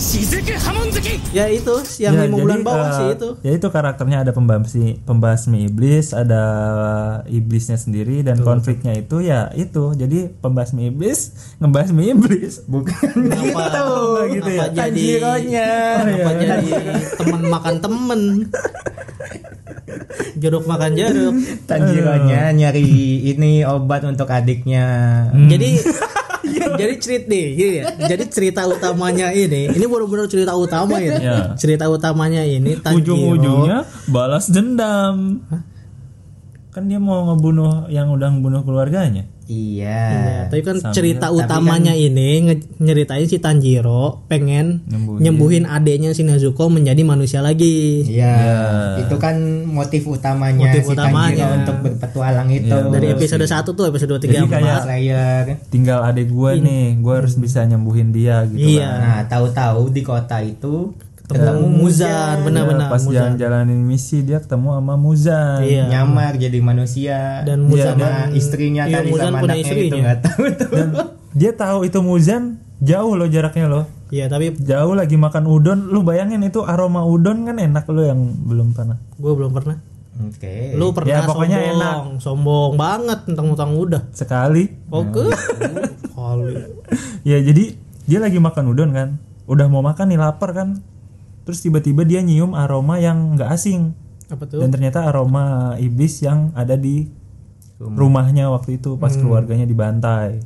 E: 雫波紋好き
B: ya itu yang
A: Ya,
B: lima
A: jadi,
B: bulan bawah
A: eh,
B: sih itu
A: Ya itu karakternya ada pembasmi pembasmi iblis, ada iblisnya sendiri dan konfliknya itu ya itu. Jadi pembasmi iblis ngebasmi iblis.
C: Bukan
B: apa,
A: gitu ya. Oh, iya.
B: apa jadi apa jadi teman makan temen jeruk makan jeruk
A: Hmm.
B: Eh.
C: Tanjironya nyari ini obat untuk adiknya.
B: Jadi
A: Iya.
B: jadi cerita nih, gini ya. Jadi cerita utamanya ini, ini benar-benar cerita utama ini.
A: Ya.
B: Cerita utamanya ini Tanjiro.
A: Ujung-ujungnya balas dendam. Kan dia mau ngebunuh yang udah ngebunuh keluarganya.
C: Iya.
B: Iya, tapi kan
A: Sambil-
B: cerita
C: tapi
B: utamanya ini nge- nyeritain si Tanjiro pengen
A: Nyembuhin.
B: nyembuhin, adeknya si Nezuko menjadi manusia lagi.
C: Iya.
A: Iya.
C: Itu kan motif utamanya
B: Motif
C: si Tanjiro
B: utamanya.
C: untuk berpetualang itu.
A: Iya,
B: Dari episode Iya. 1 tuh episode 3
A: Jadi kayak-
C: Slayer.
A: tinggal adik gue nih gue harus bisa nyembuhin dia gitu
B: Hmm. Iya.
C: Nah, tahu-tahu di kota itu
B: ketemu
A: Iya,
B: Muzan benar-benar
A: pas
B: Muzan.
A: jalan-jalanin misi dia ketemu sama Muzan
B: Iya.
C: nyamar jadi manusia
B: Dan
A: Muzan-
C: sama istrinya
B: iya,
C: tadi
B: Muzan
C: sama
B: punya
C: anaknya itu
B: istrinya.
C: nggak tahu tuh.
A: Dan dia tahu itu Muzan jauh loh jaraknya loh
B: Iya, tapi
A: jauh lagi makan udon lu bayangin itu aroma udon kan enak lo yang belum pernah
B: gue belum pernah.
C: Oke.
B: Lu pernah
A: ya, pokoknya
B: sombong, sombong banget tentang-tentang udah.
A: sekali
B: Oke. Kali.
A: ya jadi dia lagi makan udon kan udah mau makan nih lapar kan terus tiba-tiba dia nyium aroma yang nggak asing
B: Apa tuh?
A: dan ternyata aroma iblis yang ada di rumahnya waktu itu pas
B: Hmm.
A: keluarganya dibantai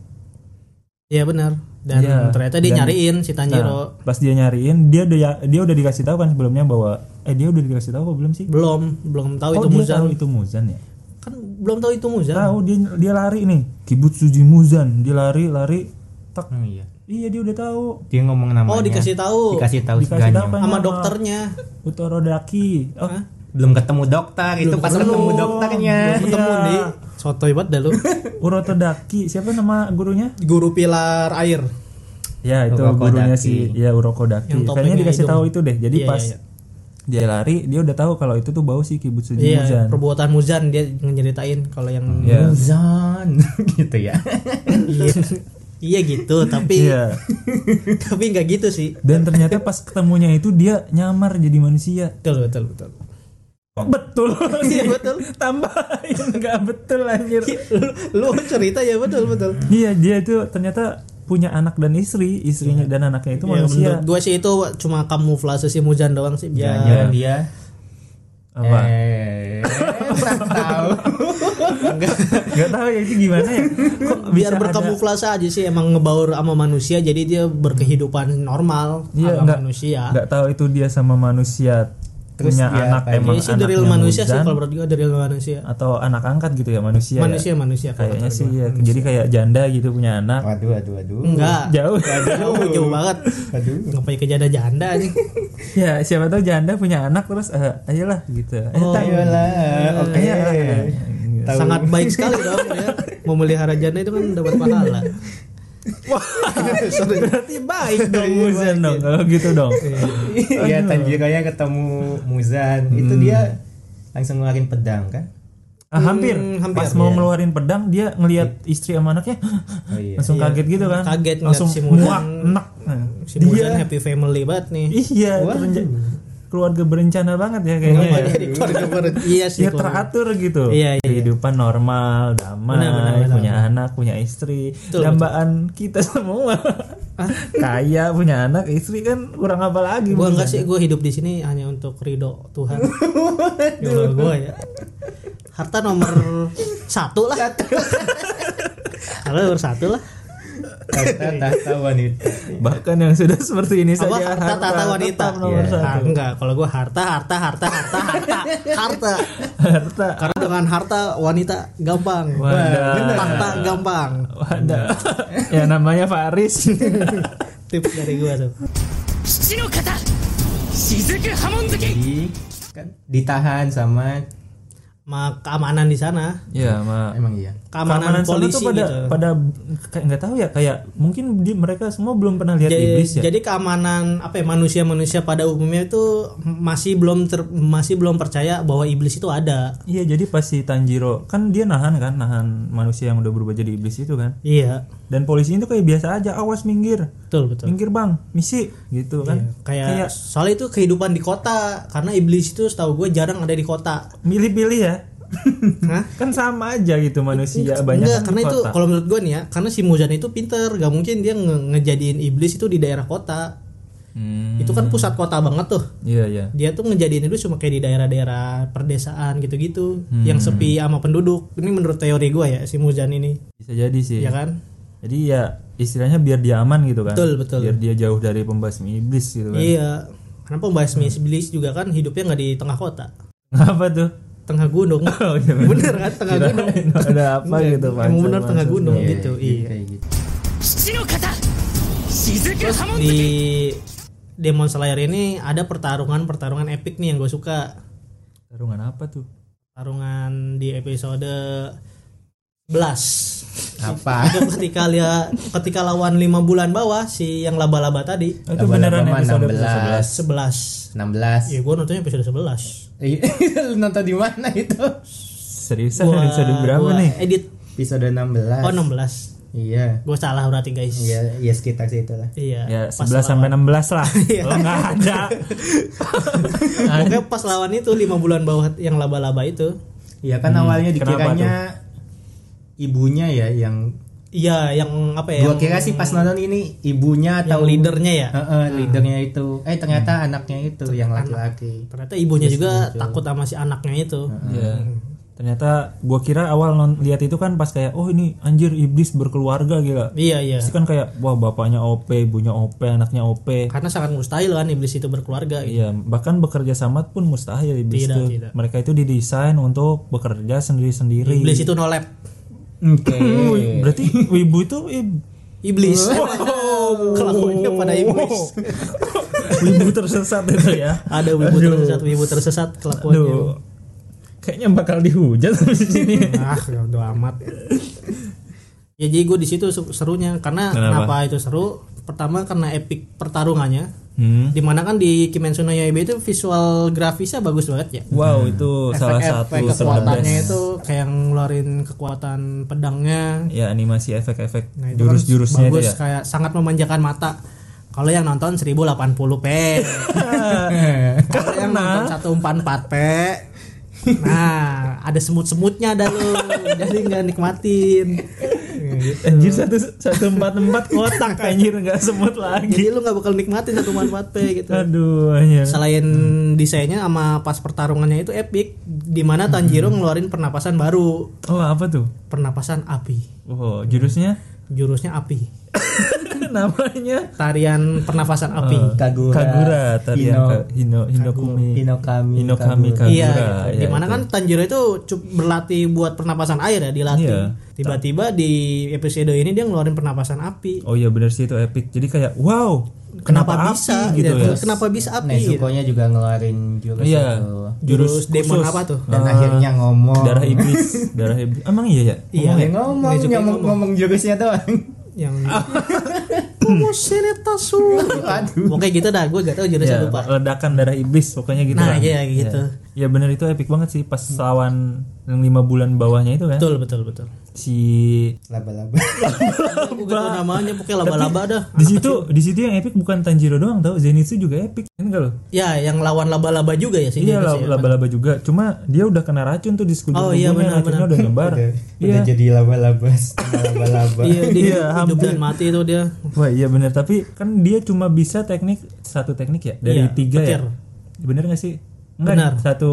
B: Iya benar. Dan
A: Iya.
B: ternyata dia
A: Dan-
B: nyariin si
A: nah,
B: Tanjiro.
A: pas dia nyariin dia udah ya, dia udah dikasih tahu kan sebelumnya bahwa eh dia udah dikasih tahu apa belum sih
B: Belum, belum tahu
A: oh
B: itu
A: dia
B: Muzan.
A: tahu itu Muzan ya
B: Kan belum tahu itu Muzan.
A: tahu dia dia lari nih Kibutsuji Muzan dia lari lari tak
C: Hmm, iya.
A: iya dia udah tahu
C: Dia ngomong namanya.
B: Oh, dikasih tahu
C: Dikasih tahu
A: Dikasih
C: seganya.
A: tahu apa?
B: sama
A: Sama-
B: dokternya.
A: Utorodaki oh
C: Belum ketemu dokter, itu pas ketemu dokternya.
A: Iya.
B: Belum ketemu nih. Sotoy banget dah lu.
A: Urotodaki siapa nama gurunya
B: Guru pilar air.
A: Ya itu
C: Uroko
A: gurunya si
C: Daki.
A: ya Uroko Daki.
B: Yang topengnya
A: Kayaknya dikasih
B: hidung.
A: tahu itu deh. Jadi
B: Iya,
A: pas
B: iya,
A: dia lari dia udah tahu kalau itu tuh bau si Kibutsuji
B: Iya,
A: Muzan.
B: perbuatan Muzan dia nyeritain kalau yang
A: Iya.
C: Muzan gitu ya.
B: iya. Iya gitu, tapi
A: Iya.
B: tapi nggak gitu sih.
A: Dan ternyata pas ketemunya itu dia nyamar jadi manusia.
B: Betul, betul, betul.
A: Oh, betul.
B: Iya, betul. Iya.
A: Tambahin nggak betul anjir.
B: lu cerita ya betul, betul.
A: Iya, dia itu ternyata punya anak dan istri, istrinya dan anaknya itu
B: Ya,
A: manusia.
B: menurut gue sih itu cuma kamuflase si Muzan doang
A: Iya,
B: sih biar
C: Jangan dia
A: Apa?
C: eh kurang tahu.
A: Gak tahu ya itu gimana ya. Kok
B: biar
A: bisa ada-
B: berkamuflase aja sih emang ngebaur sama manusia jadi dia berkehidupan normal
A: Iya,
B: sama
A: nggak-
B: manusia.
A: nggak tahu itu dia sama manusia
C: Terus
A: punya
C: dia
A: anak
C: apa ya?
A: emang
B: Jadi sih dari
A: anaknya Iya,
B: manusia sih
A: Muzan.
B: kalau menurut gue dari manusia.
A: atau anak angkat gitu ya manusia ya?
B: manusia manusia kalau
A: kayaknya
B: kata
A: sih
B: gua.
A: ya jadi kayak janda gitu punya anak
C: Waduh, waduh, waduh.
B: enggak
A: jauh
B: jauh jauh banget
C: Waduh.
B: ngapain ke janda janda nih
A: ya siapa tahu janda punya anak terus eh, ayolah gitu eh,
B: Oh,
A: tang-
C: Ayolah, oke.
A: ayolah.
C: Iya. Tahu.
B: sangat baik sekali dong ya memelihara janda itu kan dapat pahala wah berarti baik dong
A: Iya, Muzan dong kalau gitu dong
C: Iya, Tanjiro-nya ketemu Muzan. Itu dia langsung ngeluarin pedang kan?
A: Ah, hampir.
B: Hmm, hampir.
A: pas mau ngeluarin pedang dia ngelihat istri sama anaknya
C: Oh iya.
A: langsung
B: Iya.
A: kaget gitu kan
B: Kaget ngeliat
A: langsung
B: si Muzan.
A: muak enak Nah,
B: si Muzan happy family banget nih
A: iya terenja- keluarga berencana banget ya kayaknya
B: Kenapa
A: ya.
B: jadi keluarga barat? iya sih
A: ya
B: keluarga.
A: teratur gitu
B: Iya, iya.
A: kehidupan normal damai
B: Benar, benar, benar,
A: punya anak punya istri dambaan kita semua kaya punya anak istri kan kurang apa lagi
B: Gua
A: Bang?
B: enggak sih gue hidup di sini hanya untuk ridho Tuhan Kalau gue ya harta nomor satu lah kalau nomor satu lah
C: Tahta tahta wanita.
A: Iya. bahkan yang sudah seperti ini
B: apa
A: saja
B: harta tata wanita
A: tetap nomor
C: Iya.
A: satu.
B: Ah, enggak kalau gue harta harta harta harta harta harta
A: harta
B: karena dengan harta wanita gampang
A: Wadah.
B: tahta gampang
A: wadah ya namanya Faris
B: tips dari gue tuh
E: 父の方雫波紋月
C: Di kan ditahan sama
B: Ma keamanan di sana
A: ya ma
C: emang iya.
A: sana
B: keamanan, polisi
A: tuh pada
B: gitu
A: pada kayak nggak tahu ya kayak mungkin di, mereka semua belum pernah lihat
B: jadi,
A: iblis ya
B: jadi keamanan apa ya manusia-manusia pada umumnya itu masih belum ter- masih belum percaya bahwa iblis itu ada.
A: Iya jadi pas si Tanjiro kan dia nahan kan nahan manusia yang udah berubah jadi iblis itu kan
B: Iya,
A: dan polisi itu kayak biasa aja awas minggir
B: betul betul. Iya,
A: minggir bang misi gitu kan
B: Kayak soalnya itu kehidupan di kota karena iblis itu setahu gue jarang ada di kota.
A: milih-pilih ya
B: Hah?
A: kan sama aja gitu manusia banyak
B: Enggak,
A: kan
B: karena
A: di
B: itu
A: kota.
B: kalau menurut gue nih ya, karena si Muzan itu pinter, gak mungkin dia nge- ngejadiin iblis itu di daerah kota.
A: Hmm,
B: Itu kan pusat kota banget tuh.
A: iya iya
B: Dia tuh ngejadiin itu cuma kayak di daerah-daerah perdesaan gitu-gitu,
A: Hmm.
B: yang sepi sama penduduk. Ini menurut teori gue ya si Muzan ini,
A: bisa jadi sih
B: ya kan?
A: jadi ya istilahnya biar dia aman gitu kan
B: Betul, betul.
A: biar dia jauh dari pembasmi iblis gitu kan
B: Iya. Karena pembasmi iblis juga kan hidupnya nggak di tengah kota.
A: apa tuh
B: tengah gunung
A: Oh, iya bener.
B: bener kan tengah
A: Kirain
B: gunung
A: ada apa
B: Enggak,
A: gitu,
B: emang bener
A: pansos-
B: tengah
A: pansos.
B: gunung
A: Iya,
B: gitu
C: jadi
B: iya
C: kayak gitu.
E: 七の型雫波紋
B: di
E: 月
B: Demon Slayer ini ada pertarungan pertarungan epic nih yang gue suka
A: Tarungan apa tuh?
B: pertarungan di episode 11
C: apa
B: itu ketika dia ketika lawan 5 bulan bawah si yang laba-laba tadi
A: Oh, itu beneran
C: Laba-laba mah
A: episode
B: 11
C: 16. 16
B: ya gue nontonnya episode 11
C: Iya, lu nonton di mana itu
A: 11. Seriusan episode berapa
B: gua
A: nih?
B: edit
C: episode 16
B: oh 16
C: iya
B: gue salah berarti guys
C: iya iya sekitar situ lah
B: iya
A: Ya
B: pas Iya.
A: 11
B: lawan-
A: sampai 16 lah. Lo nggak ada.
B: Pokoknya pas lawan itu lima bulan bawah yang laba-laba itu.
C: iya kan awalnya
A: kenapa
C: dikiranya ibunya ya yang
B: Iya, yang apa ya?
C: gua
B: yang-
C: kira sih pas nonton ini
B: yang
C: ibunya atau
B: leadernya ya.
C: Heeh, leadernya itu eh ternyata
B: Hmm.
C: anaknya itu yang laki-laki
B: Ternyata ibunya juga takut sama si anaknya itu.
A: Iya. Ternyata gua kira awal non lihat itu kan pas kayak oh ini anjir iblis berkeluarga gila.
B: Iya, iya.
A: Terus kan kayak wah bapaknya OP, ibunya OP, anaknya OP.
B: Karena sangat mustahil kan iblis itu berkeluarga. gitu.
A: Iya, bahkan bekerja sama pun mustahil iblis
B: Tidak,
A: tuh.
B: tidak.
A: Mereka itu didesain untuk bekerja sendiri-sendiri.
B: Iblis itu nolep.
C: oke
A: Wih, Berarti ibu itu ib-
B: Iblis.
A: Oh.
B: Kelakuannya pada iblis.
A: wibu tersesat itu ya.
B: Ada wibu tersesat, wibu tersesat kelakuannya.
A: Aduh. Kayaknya bakal dihujat di sini.
B: Ah, ya udah amat. ya jadi gue di situ su- serunya karena
A: Kenapa?
B: kenapa itu seru? Pertama karena epic pertarungannya.
A: Hmm.
B: Dimana kan di Kimetsu no Yaiba itu visual grafisnya bagus banget ya.
A: Wow, itu salah satu terbatas.
C: Efek-efek
B: Kekuatannya itu kayak ngeluarin kekuatan pedangnya.
A: Ya animasi efek-efek
B: Nah, itu kan
A: jurus-jurusnya itu ya.
B: bagus kayak sangat memanjakan mata. Kalau yang nonton 1080p. Kalau yang nonton 144p. Nah, ada semut-semutnya ada lu. Jadi nggak nikmatin.
A: Anjir satu satu empat empat kotak anjir nggak semut lagi.
B: Jadi lu nggak bakal nikmatin 144p gitu.
A: Aduh, anjir.
B: Selain desainnya sama pas pertarungannya itu epic, dimana Tanjiro
A: Hmm.
B: ngeluarin pernapasan baru,
A: Oh, apa tuh?
B: pernapasan api,
A: Oh, jurusnya
B: jurusnya api,
A: namanya
B: tarian pernapasan api.
A: Eh,
C: Kagura,
A: Kagura
B: ya.
A: tarian
C: Hino,
A: Ka- Hino Hinokumi.
C: Hinokami,
A: Hinokami
C: Kagura.
A: Kagura.
B: Iya,
A: ya,
B: gitu. dimana
A: itu.
B: kan Tanjiro itu cu- berlatih buat pernapasan air ya dilatih.
A: Iya.
B: Tiba-tiba di episode ini dia ngeluarin pernapasan api.
A: Oh iya benar sih itu epic. Jadi kayak wow, kenapa,
B: Kenapa,
A: api
B: bisa?
A: gitu
B: Ya,
A: ya.
B: Kenapa bisa api? gitu.
C: Nezuko-nya juga ngeluarin jurus
A: Iya.
C: itu
B: Jurus demon
A: khusus. Ah,
B: apa tuh?
C: dan akhirnya ngomong
A: darah iblis, darah iblis. Emang iya ya?
B: Iya.
C: Ngomong ya,
B: Nezuko
C: ngomong,
B: ngomong.
C: ngomong,
B: Iya.
C: ngomong jurusnya doang
B: Yang Kumo Seretasu.
C: Aduh.
B: Oke gitu dah, gue gak tahu jurusnya
A: Iya,
B: lupa.
A: ledakan darah iblis pokoknya gitu.
B: Nah,
A: kan.
B: iya, gitu.
A: Iya benar itu epic banget sih pas lawan yang lima bulan bawahnya itu kan.
B: Betul, betul, betul.
A: Si
C: laba-laba
B: Gue gak tau namanya, pokoknya laba-laba dah.
A: di situ di situ yang epic bukan Tanjiro doang tau Zenitsu juga epic kan enggak lo?
B: Ya, yang lawan laba-laba juga ya sih.
A: Iya
B: Dennis
A: lah,
B: ya.
A: laba-laba juga. Cuma dia udah kena racun tuh di sekujur
B: Oh, iya,
A: tubuhnya,
B: benar,
A: racunnya
B: benar.
A: udah nyebar.
C: udah,
A: iya.
C: udah jadi laba-laba setengah laba-laba
B: Iya, dia
A: Iya,
B: hidup
A: hampir.
B: dan mati itu dia.
A: Wah iya benar tapi kan dia cuma bisa teknik satu teknik ya dari
B: Iya,
A: tiga
B: petir.
A: ya benar nggak sih Enggak,
B: Benar.
A: satu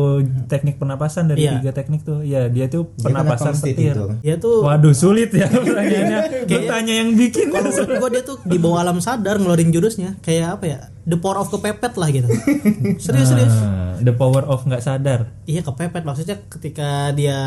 A: teknik pernapasan dari
B: Iya.
A: tiga teknik tuh ya dia tuh
C: Dia kenapa
A: pernapasan
C: mesti
A: petir
C: tidur?
B: Dia tuh
A: waduh sulit ya
B: Iya,
A: pertanyaannya Lu tanya yang bikin
B: kalau menurut gua dia tuh di bawah alam sadar ngeluarin jurusnya kayak apa ya the power of kepepet lah gitu serius serius
A: Ah, the power of nggak sadar
B: iya kepepet maksudnya ketika dia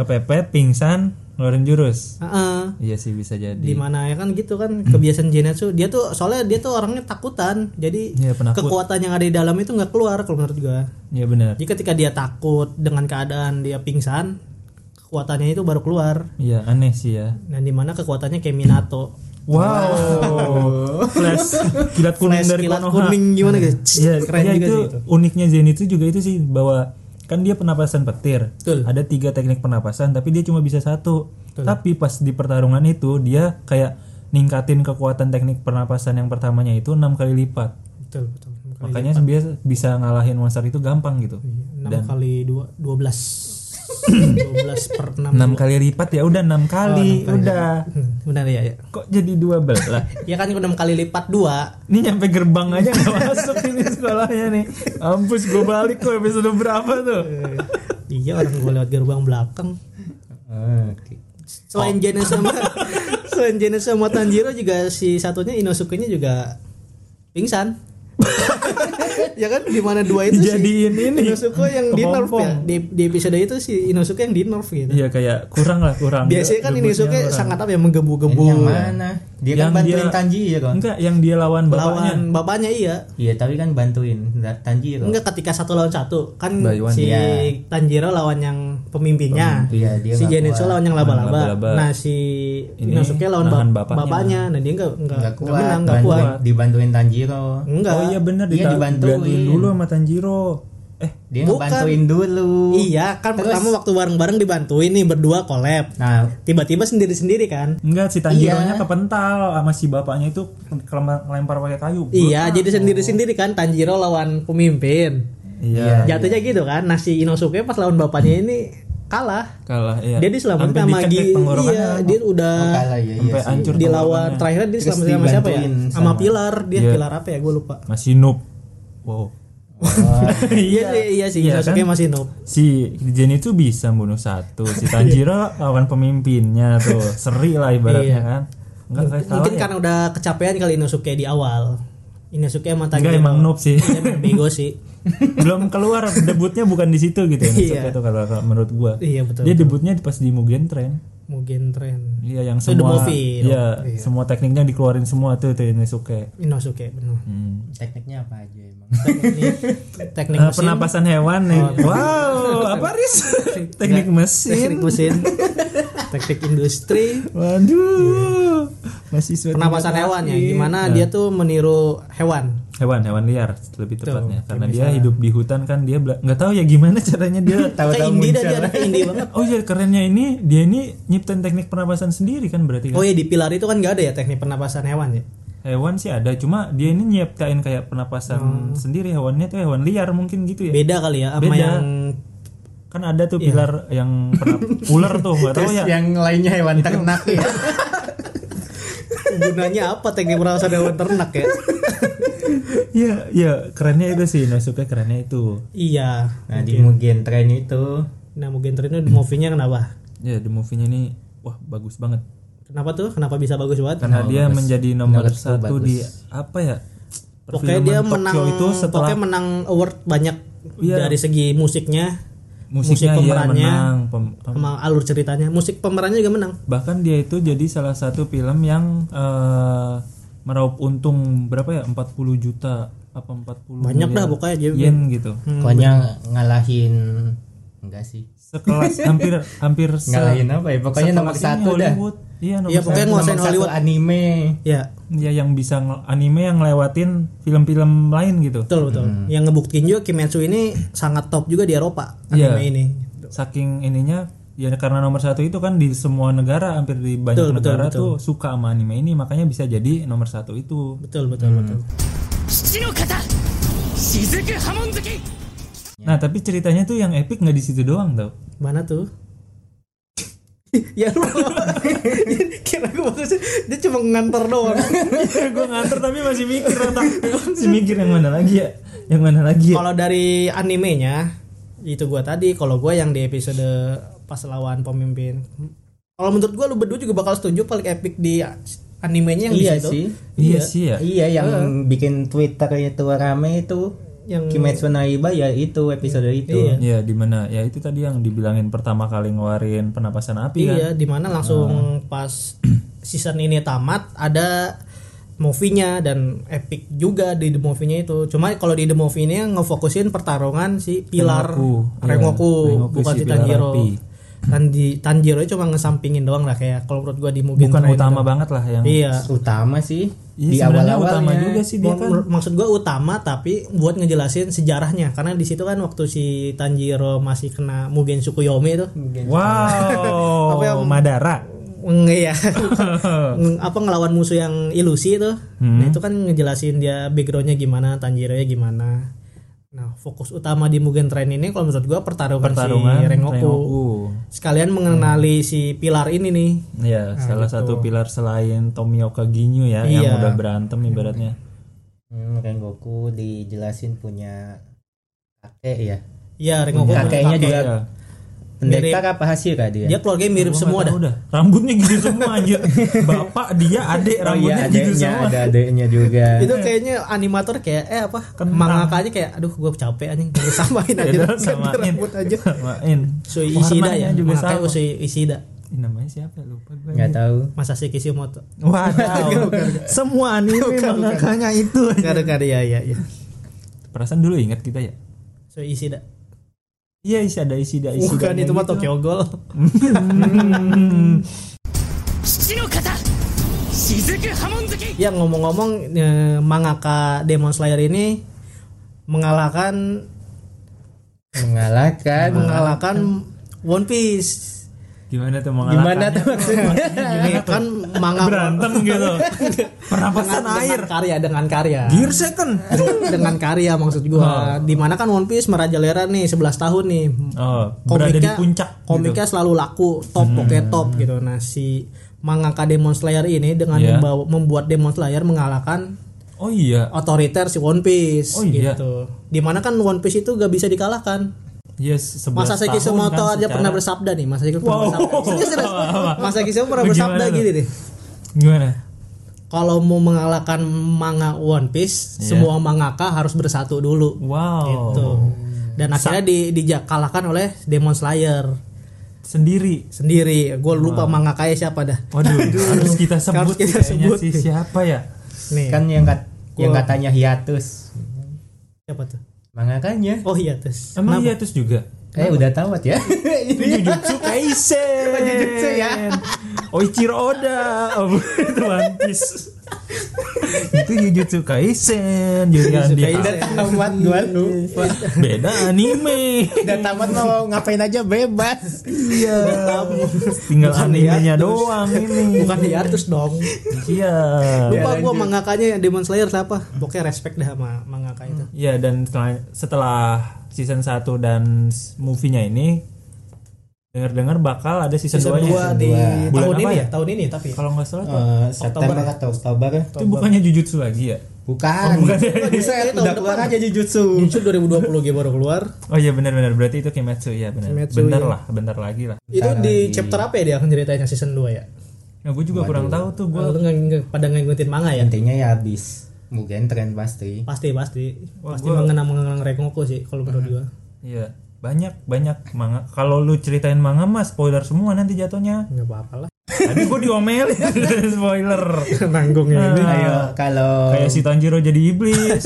A: kepepet pingsan ngeluarin jurus
B: Heeh.
A: iya sih bisa jadi
B: di mana ya kan gitu kan
A: Hmm.
B: kebiasaan Genetsu dia tuh soalnya dia tuh orangnya takutan jadi
A: Iya, penakut.
B: kekuatan yang ada di dalam itu nggak keluar kalau menurut gua
A: iya benar
B: jadi ketika dia takut dengan keadaan dia pingsan kekuatannya itu baru keluar
A: iya aneh sih ya
B: dan di mana kekuatannya kayak Minato
A: wow flash kilat kuning
B: Flash
A: dari
B: kilat
A: Konoha
B: kuning gimana gitu Css,
A: Iya,
B: keren
A: iya,
B: juga
A: itu
B: sih itu
A: uniknya Zenitsu juga itu sih bahwa kan dia pernapasan petir.
B: Betul.
A: Ada tiga teknik pernapasan tapi dia cuma bisa satu. Tapi pas di pertarungan itu dia kayak ningkatin kekuatan teknik pernapasan yang pertamanya itu enam kali lipat.
B: betul betul
A: Makanya biasa bisa ngalahin monster itu gampang gitu.
B: 6 Iya, kali 2 12 12 per 6
A: Enam kali lipat ya udah
B: Oh,
A: enam kali, udah.
B: benar ya ya
A: Kok jadi dua belas lah?
B: ya kan 6 kali lipat 2
A: Ini nyampe gerbang aja nggak masuk ini sekolahnya nih. Ampus gue balik kok episode berapa tuh?
B: iya orang gue lewat gerbang belakang
C: Oke.
B: selain Genes sama selain Genes sama Tanjiro juga si satunya Inosuke-nya juga pingsan ya kan di mana dua itu
A: Dijadiin
B: si
A: ini,
B: Inosuke yang di nerf ya.
A: kepompong.
B: Di, di episode itu si Inosuke yang di nerf gitu.
A: Iya kayak kurang lah kurang.
B: Biasanya kan
A: Debutnya
B: Inosuke
A: kurang.
B: sangat apa ya menggebu-gebu.
C: Ini yang mana? Dia
A: Yang
C: kan bantuin
A: dia-
C: Tanji ya kan?
A: Enggak, yang dia lawan bapaknya.
B: iya Lawan bapaknya iya.
C: Iya, tapi kan bantuin Nggak Tanji ya kan?
B: Enggak ketika satu lawan satu kan
F: By one,
B: si
C: iya.
B: Tanjiro lawan yang pemimpinnya,
C: Iya, dia
B: si
C: nggak
B: Genetsu
C: kuat.
B: lawan yang
A: Lawan
B: laba-laba,
A: laba-laba.
B: nah si
A: Ini
B: Inosuke lawan
A: nahan
B: bap-
A: bapaknya.
B: bapaknya. nah dia enggak enggak,
C: Nggak
B: enggak menang, enggak
C: bantuin-
B: kuat.
C: Dibantuin Tanjiro.
B: Enggak.
A: Oh iya benar
C: Iya,
A: dita-
C: dibantuin.
A: dibantuin dulu sama Tanjiro. Eh,
C: Dia
B: Bukan.
C: ngebantuin dulu.
B: Iya, kan
C: Terus-
B: pertama waktu bareng-bareng dibantuin nih berdua collab.
C: Nah,
B: Tiba-tiba sendiri-sendiri kan?
A: enggak si Tanjiro-nya
C: Iya.
A: kepental sama si bapaknya itu kelem- lempar pakai kayu.
B: Iya, jadi sendiri-sendiri kan Tanjiro lawan pemimpin.
A: Iya.
B: Jatuhnya gitu kan. Nah, si Inosuke pas lawan bapaknya ini kalah.
A: Kalah iya.
B: Dia diselamatin
A: Sampai
B: sama
A: dicekik
B: Gi.
A: tenggorokannya.
B: Iya, dia udah
C: oh, kalah ya, iya
A: sampai
C: sih.
A: hancur
B: dilawan
A: tenggorokannya.
B: terakhir dia
C: Terus
B: diselamatin sama siapa ya?
C: dibantuin
B: Sama
C: sama-
B: pilar, dia
A: Iya.
B: pilar apa ya? Gue lupa.
A: Masih noob. Wow.
B: Iya, sih, iya sih,
A: Iya,
B: Inosuke
A: kan?
B: masih noob.
A: si Jen itu bisa bunuh satu si Tanjiro lawan pemimpinnya tuh seri lah ibaratnya
B: Iya.
A: kan enggak kayak kalah
B: Mungkin
A: ya?
B: karena udah kecapean kali Inosuke di awal. Inosuke sama
A: enggak
B: Tanjiro.
A: emang noob sih
B: Iya, emang bego sih.
A: belum keluar debutnya bukan di situ gitu ya Natsuki
B: Iya.
A: itu kalau kalau menurut gua
B: Iya, betul,
A: dia debutnya pas di Mugen Train
B: Mungkin tren.
A: iya yang
B: Itu The
A: semua
B: Movie.
A: iya, semua tekniknya dikeluarin semua tuh tuh Inosuke
B: Inosuke benar.
A: hmm.
C: Tekniknya apa aja emang?
B: Teknik teknik
A: Eh,
B: mesin. Oh, iya.
A: penapasan hewan nih. wow apa ris teknik
B: Teknik
A: mesin
B: mesin. teknik industri.
A: waduh masih suatu
B: Penapasan hewan ya.
A: lagi.
B: Gimana
A: Nah.
B: dia tuh meniru hewan.
A: hewan hewan liar lebih tepatnya karena dia hidup di hutan kan dia bela- nggak tahu ya gimana caranya dia
B: Kayak
C: Tahu-tahu
B: indie dah
C: muncul.
B: dia ada kayak indie banget.
A: oh ya kerennya ini dia ini nyiptain teknik pernapasan sendiri kan berarti kan?
B: Oh ya di pilar itu kan gak ada ya teknik pernapasan hewan ya.
A: hewan sih ada cuma dia ini nyiptain kayak
B: Oh.
A: pernapasan sendiri hewannya tuh hewan liar mungkin gitu ya
B: Beda kali ya sama
A: Beda.
B: yang
A: kan ada
B: Iya.
A: tuh pilar yang pernah ular tuh nggak tahu
C: Terus
A: ya
C: yang lainnya hewan ternak ya.
B: gunanya apa teknik pernapasan hewan ternak ya.
A: iya iya kerennya itu sih Nosuke kerennya itu
B: iya.
C: Nah, di Mugen Train itu
B: Nah mungkin tren itu movie-nya kenapa?
A: ya the movie-nya ini wah bagus banget
B: Kenapa tuh? Kenapa bisa bagus banget?
C: Oh,
A: karena dia menjadi nomor
C: Menurutku
A: satu
C: bagus.
A: di apa ya
B: Pokoknya
A: perfilman
B: dia
A: Tokyo
B: menang
A: itu setelah
B: pokoknya menang award banyak
A: Iya.
B: dari segi musiknya,
A: musiknya ya
B: musik pemerannya.
A: menang pem- pem-
B: sama alur ceritanya. Musik pemerannya juga menang.
A: bahkan dia itu jadi salah satu film yang eh, meraup untung berapa ya 40 juta apa 40
B: Banyak
A: miliar
B: dah pokoknya dia-
A: yen gitu
C: pokoknya ngalahin enggak sih?
A: sekelas hampir hampir se-
C: Ngalahin apa ya? Pokoknya nomor
A: sekelas ini
C: satu dah.
A: Hollywood iya nomor
B: Iya, pokoknya
A: satu.
B: nguasain
C: Nomor satu
B: Hollywood.
C: anime.
B: Ya,
A: Iya, yang bisa ngel- anime yang ngelewatin film-film lain gitu
B: betul betul. Yang ngebuktiin juga Kimetsu ini sangat top juga di Eropa
A: Iya.
B: anime ini.
A: saking ininya ya karena nomor satu itu kan di semua negara hampir di banyak
B: Betul, betul,
A: negara tuh
B: betul.
A: suka sama anime ini makanya bisa jadi nomor satu itu
B: Betul betul
A: Hmm.
B: betul.
E: 七の型雫波紋月
B: Iya.
A: nah tapi ceritanya tuh yang epic nggak di situ doang tau
B: Mana tuh? ya lu kira gue bagus dia cuma nganter doang
A: gue nganter tapi masih mikir otak Gua masih mikir yang mana lagi ya yang mana lagi ya
B: kalau dari animenya itu gua tadi kalau gua yang di episode pas lawan pemimpin kalau menurut gua lu berdua juga bakal setuju paling epic di animenya yang
C: Iya
B: di situ
C: sih.
A: iya sih ya
C: Iya yang bikin Twitter itu rame itu
B: yang
C: Kimetsu no Yaiba ya itu episode itu.
B: Iya.
A: Iya di mana ya itu tadi yang dibilangin pertama kali ngeluarin penapasan api kan Ah.
B: iya dimana langsung pas season ini tamat ada movie-nya dan epic juga di the movie-nya itu. Cuma kalau di the movie ini yang ngefokusin pertarungan si Pilar
A: Rengoku. Iya,
B: Rengoku,
A: Rengoku
B: bukan
A: si
B: si
A: Pilar
B: Tanjiro.
A: Api.
B: Dan di Tanjiro cuma ngesampingin doang lah kayak kalau menurut gua di Mugen
A: bukan
B: Train
A: utama
B: itu.
A: banget lah yang
B: Iya.
C: Utama sih
A: Iya,
C: di
A: sebenarnya
C: awal-awalnya.
A: utama juga sih dia kan
B: Menur- Maksud gua utama tapi buat ngejelasin sejarahnya karena di situ kan waktu si Tanjiro masih kena Mugen Tsukuyomi itu
A: wow
B: Apa yang-
A: Madara
B: Nge ya Nge- apa ngelawan musuh yang ilusi itu nah
A: Hmm.
B: itu kan ngejelasin dia backgroundnya gimana Tanjiro ya gimana nah fokus utama di Mugen Train ini kalau menurut gua pertarungan,
A: pertarungan
B: si Rengoku.
A: Rengoku. Hmm.
B: sekalian mengenali si Pilar ini nih
A: Iya, salah satu pilar selain Tomioka Ginyu ya
B: Nah, gitu. Iya.
A: yang udah berantem ibaratnya.
C: Hmm, Rengoku dijelasin punya kakek ya.
B: ya Rengoku punya
C: Kakeknya
B: kakek.
C: juga
A: Iya.
C: pendekar apa hasil kah dia?
B: Dia keluarganya mirip semua dah.
A: udah rambutnya gitu semua anjir bapak dia adik
C: oh iya
A: rambutnya gitu
C: adiknya
A: semua
C: ada adiknya juga.
B: Itu kayaknya animator kayak eh apa? Mangakanya kayak aduh gua capek anjing gua samain
A: Ya
B: aja
A: udah,
B: ganti
A: samain
B: rambut aja.
A: samain
B: Sui Ishida
A: Warnanya
B: ya.
A: juga
B: Mangaka
A: sama
B: Usui Ishida.
A: Ih, namanya siapa lupa gue
C: Nggak tahu.
B: Masashi Kishimoto.
A: Waduh, semua anime mangakanya itu.
B: Kada kada ya ya ya.
A: Perasaan dulu ingat kita ya.
B: Sui Ishida.
A: Iya, isi ada isi ada isi.
B: Bukan itu mah Tokyo Ghoul.
E: 父の方雫波紋月
B: Ya ngomong-ngomong eh, mangaka Demon Slayer ini mengalahkan
C: Mengalahkan.
B: mengalahkan One Piece.
A: Gimana tuh ya? mengalahkan?
C: Gimana tuh maksudnya?
B: Ini kan manga
A: Berantem gitu. Pernapasan
B: dengan
A: air.
B: karya dengan karya.
A: Gear second.
B: dengan karya maksud gua. Dimana kan One Piece merajalela nih 11 tahun nih.
A: Oh, berada di puncak. gitu.
B: Komiknya selalu laku, top
A: Hmm.
B: pokoknya top gitu. Nah, si mangaka Demon Slayer ini dengan
A: Iya.
B: membawa- membuat Demon Slayer mengalahkan
A: Oh iya.
B: otoriter si One Piece
A: Oh, iya.
B: gitu. Dimana kan One Piece itu gak bisa dikalahkan.
A: Yes, 11 Iya,
B: Masa
A: tahun
B: Sekisumoto
A: kan
B: aja
A: secara-
B: pernah bersabda nih, Masa Sekisumoto
A: Wow.
B: pernah bersabda. Serius, serius. Masa Sekisumoto pernah
A: Lu gimana
B: bersabda
A: lu?
B: gini nih.
A: Gimana?
B: Kalau mau mengalahkan manga One Piece,
A: Iya.
B: semua mangaka harus bersatu dulu.
A: Wow.
B: gitu. Dan akhirnya di, dikalahkan oleh Demon Slayer
A: Sendiri.
B: sendiri. Gue lupa mangakanya siapa dah.
A: Waduh, harus kita sebut
B: Harus kita
A: kayaknya
B: sebut.
A: sih siapa ya?
B: Nih,
C: kan yang kat- yang
B: Gua-
C: katanya hiatus.
B: siapa tuh?
C: Mangakanya.
B: Oh iya terus.
A: Emang iya terus juga.
C: Eh udah tahu Wat, ya. Ini
A: Jujutsu Kaisen.
C: Jujutsu ya.
A: Oichiro Oda. Oh, bukan, itu One Piece. itu Jujutsu Kaisen. Jujutsu
B: Jujutsu
A: Kaisen.
C: udah tamat gua lupa.
A: Beda anime.
C: Udah tamat mau ngapain aja bebas.
A: Iya. Tinggal
B: Bukan
A: animenya
B: hiatus.
A: doang ini.
B: Bukan hiatus dong.
A: Iya.
B: Lupa
C: lanjut.
B: gue mangakanya Demon Slayer siapa? Pokoknya respect dah sama mangaka itu.
A: Iya dan setelah, setelah season 1 dan s- movie-nya ini dengar-dengar bakal ada season,
B: Season
A: 2
B: 2 di
C: dua.
A: Bulan
B: tahun
A: apa
B: ini
A: ya?
B: ya? Tahun ini tapi.
A: Kalau nggak salah tuh,
C: Eh, September
B: Oktober.
C: atau Oktober?
A: itu bukannya Jujutsu lagi ya?
C: Oh, Bukan. Buset,
B: Itu tahun
C: udah keluar
B: depan.
C: aja Jujutsu.
B: Muncul 2020 dia baru keluar.
A: Oh iya benar-benar berarti itu Kimetsu ya benar.
B: Kimetsu,
A: Bentar
B: iya.
A: lah, bentar lagi lah.
B: Itu
C: Bentar
B: di
C: lagi.
B: chapter apa ya dia akan ceritanya season 2 ya?
A: Nah, gue juga kurang tahu tuh gue.
B: Gua lu nggak- nggak- pada ngikutin manga ya?
C: Intinya ya habis. Mungkin tren pasti.
B: Pasti pasti.
A: Wah,
B: Pasti
A: gua-
B: mengenang mengenang Rengoku sih kalau menurut gua.
A: Iya, banyak banyak manga. Kalau lu ceritain manga mah spoiler semua nanti jatuhnya.
B: Enggak apa-apa lah.
A: Tadi gue diomelin spoiler.
B: Nanggungnya ini.
C: Ayo kalau
A: Kayak si Tanjiro jadi iblis,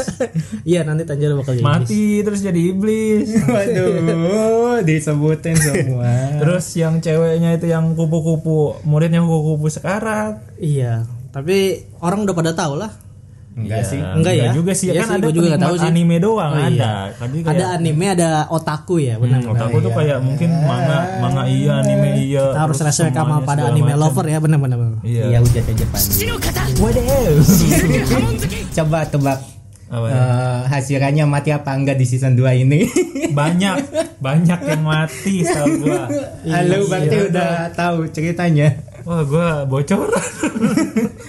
B: Iya nanti Tanjiro bakal jadi iblis.
A: mati terus jadi iblis.
C: Waduh, disebutin semua.
A: Terus yang ceweknya itu yang kupu-kupu, muridnya kupu-kupu sekarang.
B: Iya, tapi orang udah pada tahu lah.
C: Enggak sih.
B: Enggak ya?
A: Iya. juga sih,
B: Iya
A: kan
B: sih,
A: ada
B: gua juga nggak
A: penikmat
B: tahu sih.
A: anime doang
B: Oh, iya.
A: ada. Tapi kayak,
B: Ada anime, ada otaku ya,
A: Hmm,
B: benar.
A: otakku tuh kayak mungkin manga, manga iya, anime iya.
B: Kita harus
A: terus
B: respect sama
A: semuanya
B: pada
A: segala
B: anime
A: macam.
B: lover ya, benar-benar. benar.
A: Iya.
C: Iya udah aja Panji.
E: 父の方
A: What else?
E: 雫波紋月
C: Coba tebak
A: Apa ya?
C: eh, hasirannya mati apa enggak di season 2 ini?
A: banyak, banyak yang mati setahu gua.
C: Halo, berarti udah tahu ceritanya.
A: Wah, gua bocor.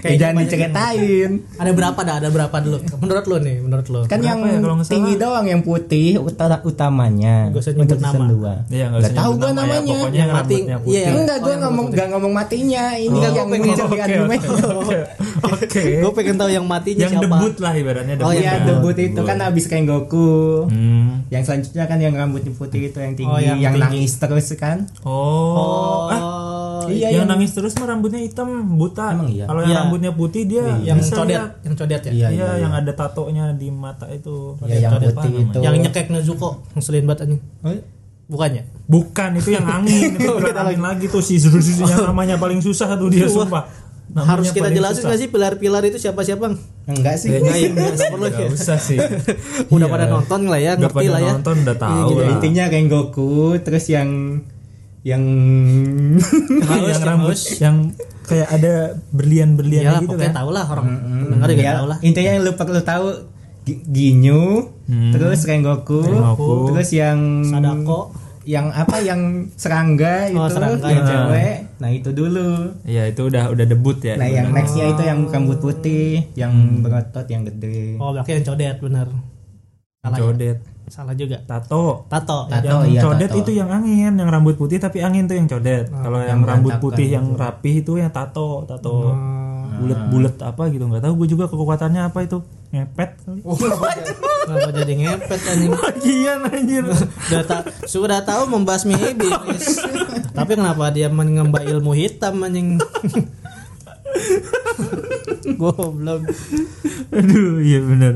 C: Eh, jangan diceritain.
B: Ada berapa dah? Ada berapa dulu? Menurut lo nih, menurut lo.
C: Kan yang
A: Berapa ya kalau nggak salah?
C: tinggi doang yang putih utara utamanya
B: Gak usah nyebut
C: untuk season
B: nama.
C: 2.
A: Iya, nggak usah
C: tahu
A: nyebut
C: gua
A: nama ya,
C: namanya.
A: pokoknya yang
B: Mati,
A: rambutnya putih.
B: iya, yang-
C: Enggak, gua ngomong nggak ngomong matinya. Ini yang muncul di
A: Oke,
C: anime.
A: oke, oke. Oke.
B: Gue pengen tahu yang matinya
A: Yang
B: siapa.
A: debut lah ibaratnya debut.
B: Oh,
C: Iya,
A: kan.
C: debut itu kan abis Goku
A: Hmm.
C: Yang selanjutnya kan yang rambutnya putih itu yang tinggi,
B: Oh, yang
C: yang,
B: tinggi.
C: nangis terus kan?
A: Oh, ah,
B: Oh,
C: iya,
A: yang,
C: yang-
A: nangis terus mah rambutnya hitam buta.
C: Emang iya?
A: Kalau yang
B: Iya.
A: rambutnya putih dia
B: yang
A: bisa
B: codet,
A: lihat.
B: yang codet ya.
A: Iya,
C: Iya, iya,
A: yang ada tatonya di mata itu.
C: Iya, yang
A: Codet apa
C: putih
A: namanya?
C: itu.
B: Yang nyekek Nezuko, ngeselin banget anjing.
A: Oh, iya.
B: Bukan ya?
A: Bukan itu yang angin, itu bukan angin lagi tuh si Zurus yang namanya paling susah tuh dia
B: Oh. Wah.
A: sumpah. Namanya
B: Harus kita
A: paling
B: jelasin
A: susah. Iya.
B: nggak sih pilar-pilar itu siapa-siapa?
C: Enggak sih.
A: Kayaknya
B: Nggak,
A: sih
B: nggak perlu
A: nggak
B: ya.
A: usah sih.
B: Udah
A: Iya.
B: pada nonton lah ya,
A: Udah
B: ngerti
A: pada
B: lah ya.
A: Nonton udah
B: Iya,
A: tahu.
B: gitu.
A: lah.
C: Intinya Goku terus yang yang
A: Iya,
B: Haus,
A: yang
B: yang
A: rambut
B: haus.
A: yang kayak ada berlian-berlian
B: Iya,
A: gitu
B: pokoknya
A: kan.
B: tahu lah orang pendengar juga
C: ya,
B: tahu lah.
C: intinya yang lu perlu tahu Gi- Ginyu, terus Rengoku,
A: Rengoku.
C: terus yang
B: Hmm. Sadako.
C: yang apa yang serangga itu
B: Oh, serangga.
C: yang
A: Ah.
C: cewek. Nah, itu dulu.
A: Iya, itu udah udah debut ya.
B: iya.
C: Nah, yang nextnya itu yang rambut
B: Hmm.
C: putih, yang berotot, yang gede.
B: Oh, berarti yang codet benar.
A: Jodet.
B: Salah juga.
A: Tato.
B: Tato. ya.
A: yang
C: Tato iya
A: codet
C: tato.
A: itu yang angin, yang rambut putih tapi angin tuh yang codet.
B: Ah,
A: Kalau yang, rambut
C: berantakan
A: putih yang rapih itu yang tato,
B: Ah.
A: tato bulet-bulet apa gitu nggak tahu gue juga kekuatannya apa itu ngepet kali.
B: Oh, Kenapa jadi ngepet anjing? iya,
A: Bagian anjir.
B: Sudah ta- sudah tahu membasmi iblis. Tapi kenapa dia mengemba ilmu hitam anjing? Goblok.
A: Aduh, iya benar.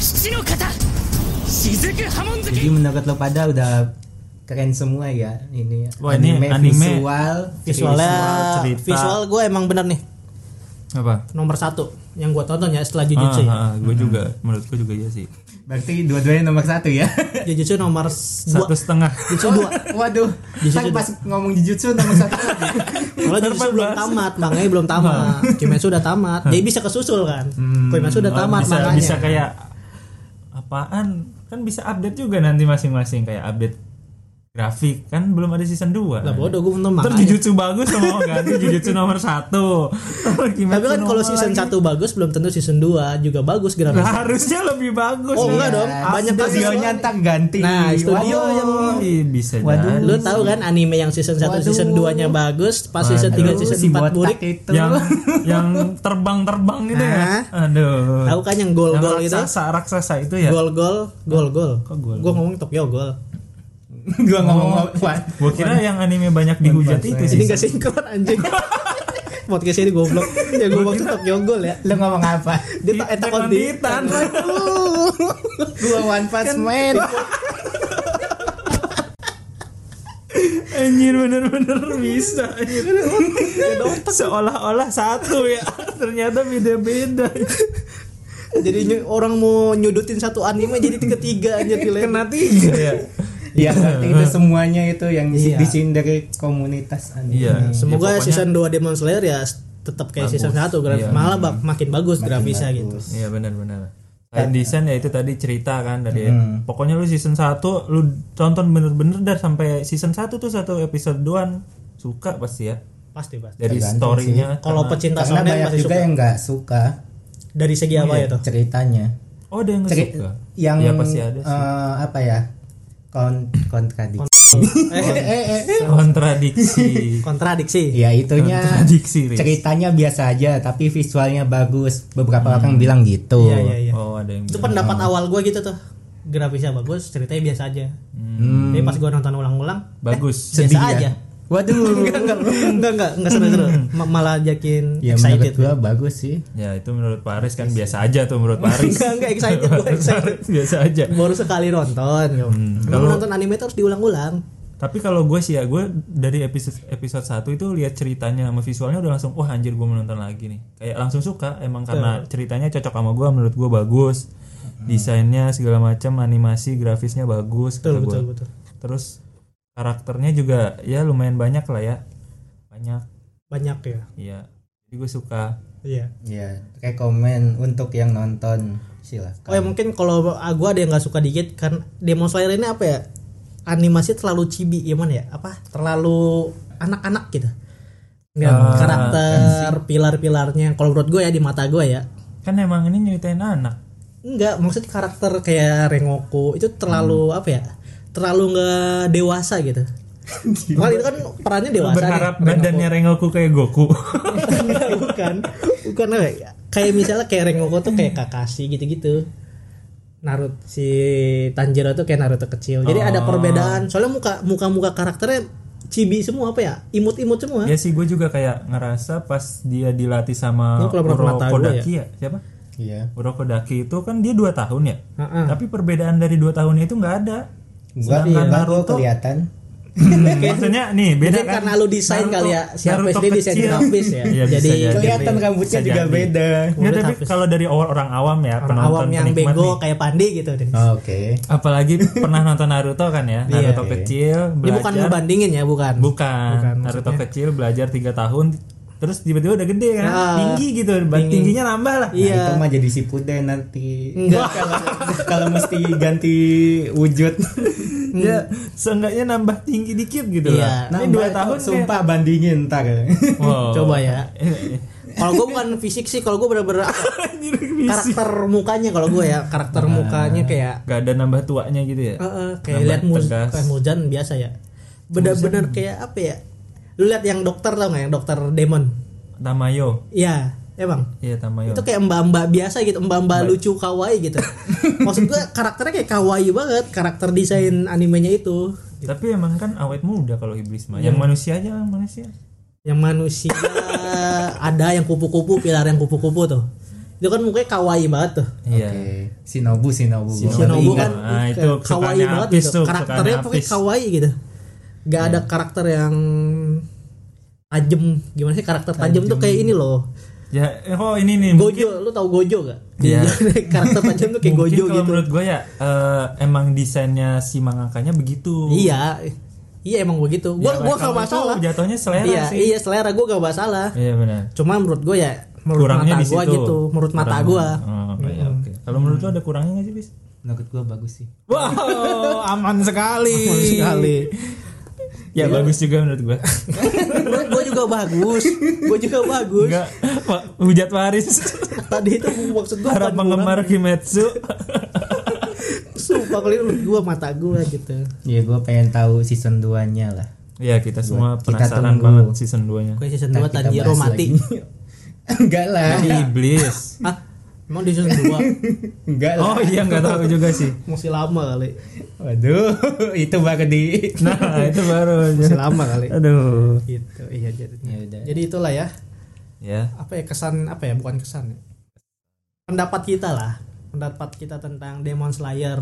E: 七の型雫波紋
C: Jadi
E: 月
C: menurut lo pada udah keren semua ya ini
A: Wah, ini anime.
C: visual
B: Visualnya
A: cerita.
B: visual gue emang bener nih
A: Apa?
B: nomor satu yang gue tonton ya setelah Jujutsu ya.
A: Ah, gue juga menurut gue juga iya sih.
C: berarti dua-duanya nomor satu ya
B: Jujutsu nomor s- dua.
A: Satu setengah.
B: Jujutsu dua.
C: waduh
B: Jujutsu
C: kan pas ngomong jujutsu nomor satu lagi.
B: Kalau Jujutsu belum tamat, manganya belum tamat. Kimetsu udah tamat. Jadi bisa kesusul kan. Kimetsu udah
A: Oh,
B: tamat
A: bisa,
B: manganya.
A: bisa kayak apaan? Kan bisa update juga nanti masing-masing kayak update grafik kan belum ada season 2.
B: Lah bodoh gue nonton
A: Ntar
B: manganya.
A: Jujutsu bagus sama ganti Jujutsu nomor 1.
B: Tapi kan kalau season 1 bagus belum tentu season 2 juga bagus
A: Nah,
B: grafisnya.
A: harusnya lebih bagus. ya.
B: Oh, enggak dong.
C: Nah,
B: Banyak
C: studionya
B: visualnya.
C: ntar ganti
B: Nah, studio
C: Waduh.
B: yang
A: Ih, bisa
C: Waduh.
A: jadi.
B: Lu tahu kan anime yang season 1
C: Waduh.
B: season 2-nya bagus, pas season 3
C: Aduh,
B: season
C: si
B: 4
C: botak
B: burik.
C: itu
A: Yang yang terbang-terbang gitu ya. Aduh.
B: Tahu kan yang gol-gol
A: Yang
B: itu?
A: raksasa, raksasa itu ya.
B: Gol-gol, gol-gol.
A: Kok Iya, gol?
B: Gua ngomong Tokyo gol.
C: gua ngomong Wan.
A: Gua kira yang anime banyak dihujat itu sih.
B: Ini gak sinkron anjing. Podcast ini goblok. Ya gua waktu Tokyo gol ya.
C: lo ngomong apa
B: Dia tak
A: Attack
B: etak
A: on Titan.
C: gua one punch man
A: Anjir bener-bener bisa anjir. Seolah-olah satu ya Ternyata beda-beda
B: Jadi ny- orang mau nyudutin satu anime jadi tiga-tiga aja
A: Kena tiga ya
C: ya berarti itu semuanya itu yang
B: Iya.
C: disin dari komunitas anime
A: Iya
B: Hmm,
A: ya,
B: Semoga
A: pokoknya-
B: season 2 Demon Slayer ya s- tetap kayak season 1 graf-
A: Iya.
B: malah bak- makin bagus grafisnya gitu.
A: Iya benar-benar Selain desain ya itu tadi cerita kan dari
B: Hmm.
A: Pokoknya lu season 1 Lu tonton bener-bener dah sampai season 1 tuh satu episode doan Suka pasti ya
B: Pasti pasti.
A: Dari storynya
B: Kalau
A: sama-
B: pecinta
C: karena
B: shonen
C: banyak
B: pasti
C: juga
B: suka.
C: yang Iya. nggak suka
B: Dari segi apa ya tuh?
C: ceritanya
A: Oh ada yang nggak
C: Ceri-
A: suka
C: yang
A: Ya pasti ada sih
C: eh, apa ya kon kontradiksi eh, eh, eh.
A: Kontradiksi
B: Kontradiksi.
C: ya itunya
A: Kontradiksi Riz.
C: ceritanya biasa aja tapi visualnya bagus beberapa orang bilang
B: Iya
C: gitu
B: iya iya.
A: Oh ada yang
B: Itu pendapat
C: Iya.
B: awal gua gitu tuh. Grafisnya bagus, ceritanya biasa aja.
C: Hmm.
B: Tapi pas gua nonton ulang-ulang,
A: Bagus
B: biasa
C: ya?
B: aja.
C: waduh
B: Enggak enggak enggak enggak, enggak seru-seru. Ma- Malah jakin
C: ya Hmm. menurut
B: excited.
C: gua bagus sih
A: Ya itu menurut Paris
B: Iya
A: kan biasa aja tuh menurut Paris.
B: Enggak enggak excited gua excited.
A: biasa aja.
B: Baru sekali nonton.
C: Iya.
B: Kalau nonton anime tuh harus diulang-ulang.
A: Tapi kalau gue sih ya gue dari episode episode 1 itu lihat ceritanya sama visualnya udah langsung wah anjir gue menonton lagi nih. Kayak langsung suka emang karena ceritanya cocok sama gue menurut gue bagus.
B: Hmm.
A: Desainnya segala macam, animasi, grafisnya bagus kata
B: Betul
A: gua.
B: betul betul.
A: Terus karakternya juga ya lumayan banyak lah ya. Banyak.
B: Banyak ya.
A: Iya. Jadi gue suka.
B: Iya.
C: ya rekomen untuk yang nonton
B: Oh
C: silakan
B: ya mungkin kalau ah, gua ada yang nggak suka dikit kan Demon Slayer ini apa ya? Animasi terlalu chibi gimana ya? Apa? Terlalu anak-anak gitu. Nggak, karakter pilar-pilarnya kalau menurut gue ya di mata gue ya
A: Kan emang ini nyeritain anak.
B: Enggak, maksudnya karakter kayak Rengoku itu terlalu apa ya? Terlalu nggak dewasa gitu. Padahal itu kan perannya dewasa. nih,
A: Berharap
B: Rengoku.
A: badannya Rengoku kayak Goku.
B: Enggak, bukan. Bukan apa ya? Kayak misalnya kayak Rengoku tuh kayak Kakashi gitu-gitu. Naruto si Tanjiro tuh kayak Naruto kecil. Jadi ada perbedaan. Soalnya muka muka muka karakternya chibi semua apa ya? Imut-imut semua.
A: Ya sih gue juga kayak ngerasa pas dia dilatih sama
B: Ini kalau menurut
A: Uro
B: mata gua
A: Kodaki ya. Siapa?
C: iya
A: Uro Kodaki itu kan dia 2 tahun ya.
B: Heeh.
A: Tapi perbedaan dari 2 tahunnya itu nggak ada.
C: gua
A: Sedangkan
C: baru
A: Naruto-
C: kelihatan
A: Hmm, maksudnya nih beda
B: Mungkin
A: kan.
B: karena lu desain
A: Naruto-
B: kali ya, si
A: Naruto
B: Hafiz ini desain
A: kecil.
B: grafis ya.
A: Iya, bisa
B: Jadi
A: jadi.
C: kelihatan rambutnya
A: Bisa
C: juga
A: jadi.
C: beda
A: Nggak, tapi
B: Hafiz.
A: kalau dari awal orang awam ya,
B: Orang
A: penonton
B: awam yang
A: penikmat
B: bego
A: nih.
B: kayak Pandi gitu deh.
C: oke
A: Apalagi pernah nonton Naruto kan ya,
B: Iya.
A: Naruto kecil
B: Ini bukan
A: belajar
B: ngebandingin ya, bukan.
A: Bukan.
B: Bukan,
A: Naruto kecil belajar 3 tahun terus tiba-tiba udah gede kan.
B: Ah.
A: tinggi gitu, tingginya nambah lah.
C: Nah,
B: Iya.
C: itu mah jadi sipuden nanti.
B: Enggak.
C: Kalau kalau mesti ganti wujud.
A: Ya, seenggaknya nambah tinggi dikit gitu
C: Nah,
B: Iya.
A: lah. Ini 2 tahun kayak- Oh.
C: sumpah bandingin ntar.
A: Wow.
B: Coba ya. Kalau gue bukan fisik sih, kalau gue bener-bener karakter mukanya kalau gue ya karakter mukanya kayak
A: Gak ada nambah tuanya gitu ya.
B: eh, eh, kayak
A: Nambah
B: lihat Muz,
A: tegas.
B: eh, Muzan biasa ya. Bener-bener kayak apa ya? Lu lihat yang dokter tau nggak yang dokter demon?
A: Tamayo.
B: Iya, emang.
A: Iya Tamayo.
B: itu kayak mbak-mbak biasa gitu mbak-mbak lucu kawaii gitu maksud gue karakternya kayak kawaii banget karakter desain animenya itu
A: Tapi emang kan awet muda kalau iblis mah.
B: Iya.
A: Yang manusia aja yang manusia.
B: yang manusia ada yang kupu-kupu pilar yang kupu-kupu tuh itu kan mukanya kawaii banget tuh
A: Iya.
C: Oke. Shinobu Shinobu.
A: Shinobu.
C: Gua
B: Shinobu
C: ingat.
B: kan
A: Ah,
B: kayak
A: itu
B: kawaii
A: kesukaannya
B: banget
A: Apis tuh,
B: gitu
A: Iya.
B: karakternya
A: kesukaannya
B: pokoknya
A: Apis.
B: kawaii gitu nggak ada karakter yang tajem gimana sih karakter tajem tuh kayak ini loh
A: Ya, eh, oh ini nih.
B: Gojo lu tau Gojo gak
A: Iya.
B: karakter tajem tuh kayak
A: mungkin
B: Gojo
A: kalau
B: gitu
A: menurut gue ya eh, emang desainnya si mangakanya begitu.
B: Iya. Iya emang begitu. Gua
A: Ya,
B: gua
A: kalau
B: gak masalah.
A: itu jatuhnya selera
B: iya,
A: sih.
B: Iya, selera gua gak masalah.
A: Iya benar.
B: Cuma menurut gua ya menurut
A: Kurangnya
B: mata
A: di
B: gua
A: situ.
B: gitu, menurut mata
A: Kurangnya.
B: gua.
A: Oh, apa ya, oke. Kalau menurut lo ada kurangnya nggak sih bis?
C: Menurut gua bagus sih.
A: Wow, aman sekali.
B: Menurut sekali. Iya.
A: Ya bagus juga menurut gua.
B: menurut gua juga bagus. Gua juga bagus.
A: Enggak, Pak, hujat waris.
B: Tadi itu maksud gua
A: Para
B: bukan
A: penggemar Kimetsu.
B: kurang. Sumpah kali menurut gua mata gua gitu.
C: Iya gua pengen tahu season 2-nya lah.
A: ya kita semua
C: Kita
A: penasaran
C: tunggu.
A: banget season 2-nya.
B: Gue season
C: Ntar
B: 2
C: kita
B: Tanjiro
C: bahas
B: mati.
C: lagi. Enggak lah.
A: Iya.
B: Iya.
A: Iblis.
B: Hah? Emang di season 2
C: Enggak lah.
A: Oh iya nggak tahu juga sih.
B: masih lama kali.
C: Waduh, itu baru di.
A: Nah, itu baru.
B: Masih lama kali.
A: Aduh.
B: Gitu. Iya jadi.
C: Ya udah.
B: Jadi itulah ya.
A: Ya.
B: apa ya kesan apa ya bukan kesan ya. pendapat kita lah pendapat kita tentang Demon Slayer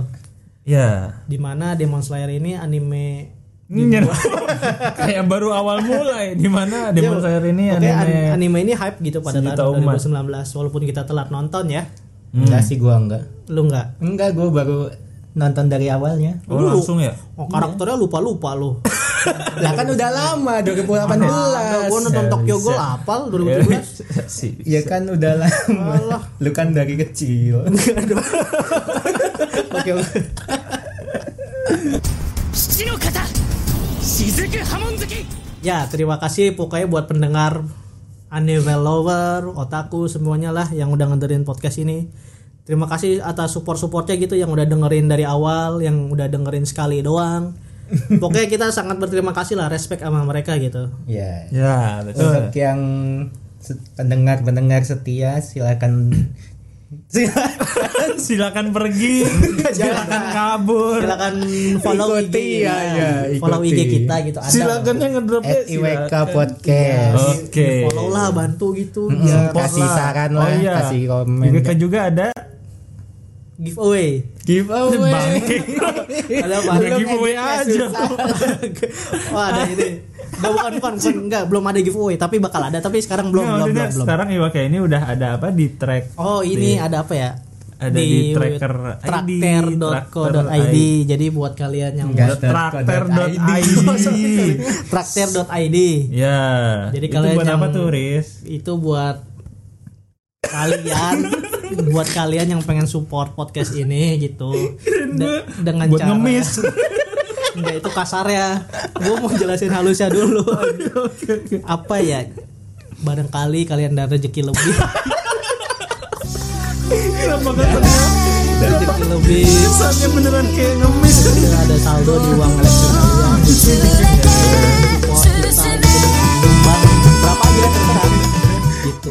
A: Ya.
B: dimana Demon Slayer ini anime
A: Nyer. Kayak baru awal mulai di mana Demon
B: Ya,
A: Slayer ini
B: oke, an-
A: anime.
B: anime ini hype gitu pada tahun
A: Sejuta umat.
B: 2019 walaupun kita telat nonton ya
C: Enggak sih gua enggak.
B: lu nggak
A: Iya.
C: Enggak, gua baru nonton dari awalnya.
A: Oh,
B: Lu-
A: langsung ya?
B: oh, karakternya lupa lupa lu
C: Lah kan udah lama
B: Ada,
C: 2018.
B: gua nonton
A: Ya,
B: Tokyo
A: bisa.
B: Ghoul apal 2017
A: si
C: Ya
B: Iya.
C: kan udah lama.
B: Alah.
C: Lu kan dari kecil.
B: Tokyo Ghoul.
E: 父の方雫波紋月
B: ya terima kasih pokoknya buat pendengar anime lover otaku semuanya lah yang udah ngedengerin podcast ini terima kasih atas support supportnya gitu yang udah dengerin dari awal yang udah dengerin sekali doang pokoknya kita sangat berterima kasih lah respect sama mereka gitu
C: Ya.
A: Ya, betul.
B: Eh.
C: Untuk yang se- pendengar-pendengar setia silakan silakan
A: silakan pergi, silakan kabur.
B: silakan follow IG
C: Ikuti ya, ya,
B: follow IG
C: ikuti.
B: kita gitu ada
A: Silakan yang ngedrop ya,
C: at IWK podcast.
B: Iya.
A: Oke.
B: follow lah bantu gitu ya.
C: Ya, kasih saran lah, kasih komen.
A: IWK juga ada
B: giveaway
C: Giveaway.
B: ada apa?
A: Ada giveaway aja.
B: Wah ada ini. Enggak bukan bukan, bukan. enggak belum ada giveaway tapi bakal ada tapi sekarang belum
A: Nggak,
B: belum
A: maksudnya
B: belum. belum.
A: Sekarang IWK ini udah ada apa di track?
B: Oh ini ada apa ya?
A: ada di tracker ID,
B: trakter.co.id jadi buat kalian yang
C: Enggak.
A: trakter.id.
B: trakter.id
A: Ya.
B: Jadi
A: itu
B: kalian
A: buat
B: yang-
A: apa tuh, Riz?
B: itu buat kalian buat kalian yang pengen support podcast ini gitu De- dengan
A: buat
B: cara
A: ngemis.
B: Enggak itu kasar ya. Gue mau jelasin halusnya dulu. Apa ya? Barangkali kalian ada rezeki lebih. rezeki lebih.
A: Kesannya beneran kayak ngemis.
B: Ada saldo di uang elektronik kalian. Support kita gitu. Bang, Berapa aja terserah. Gitu.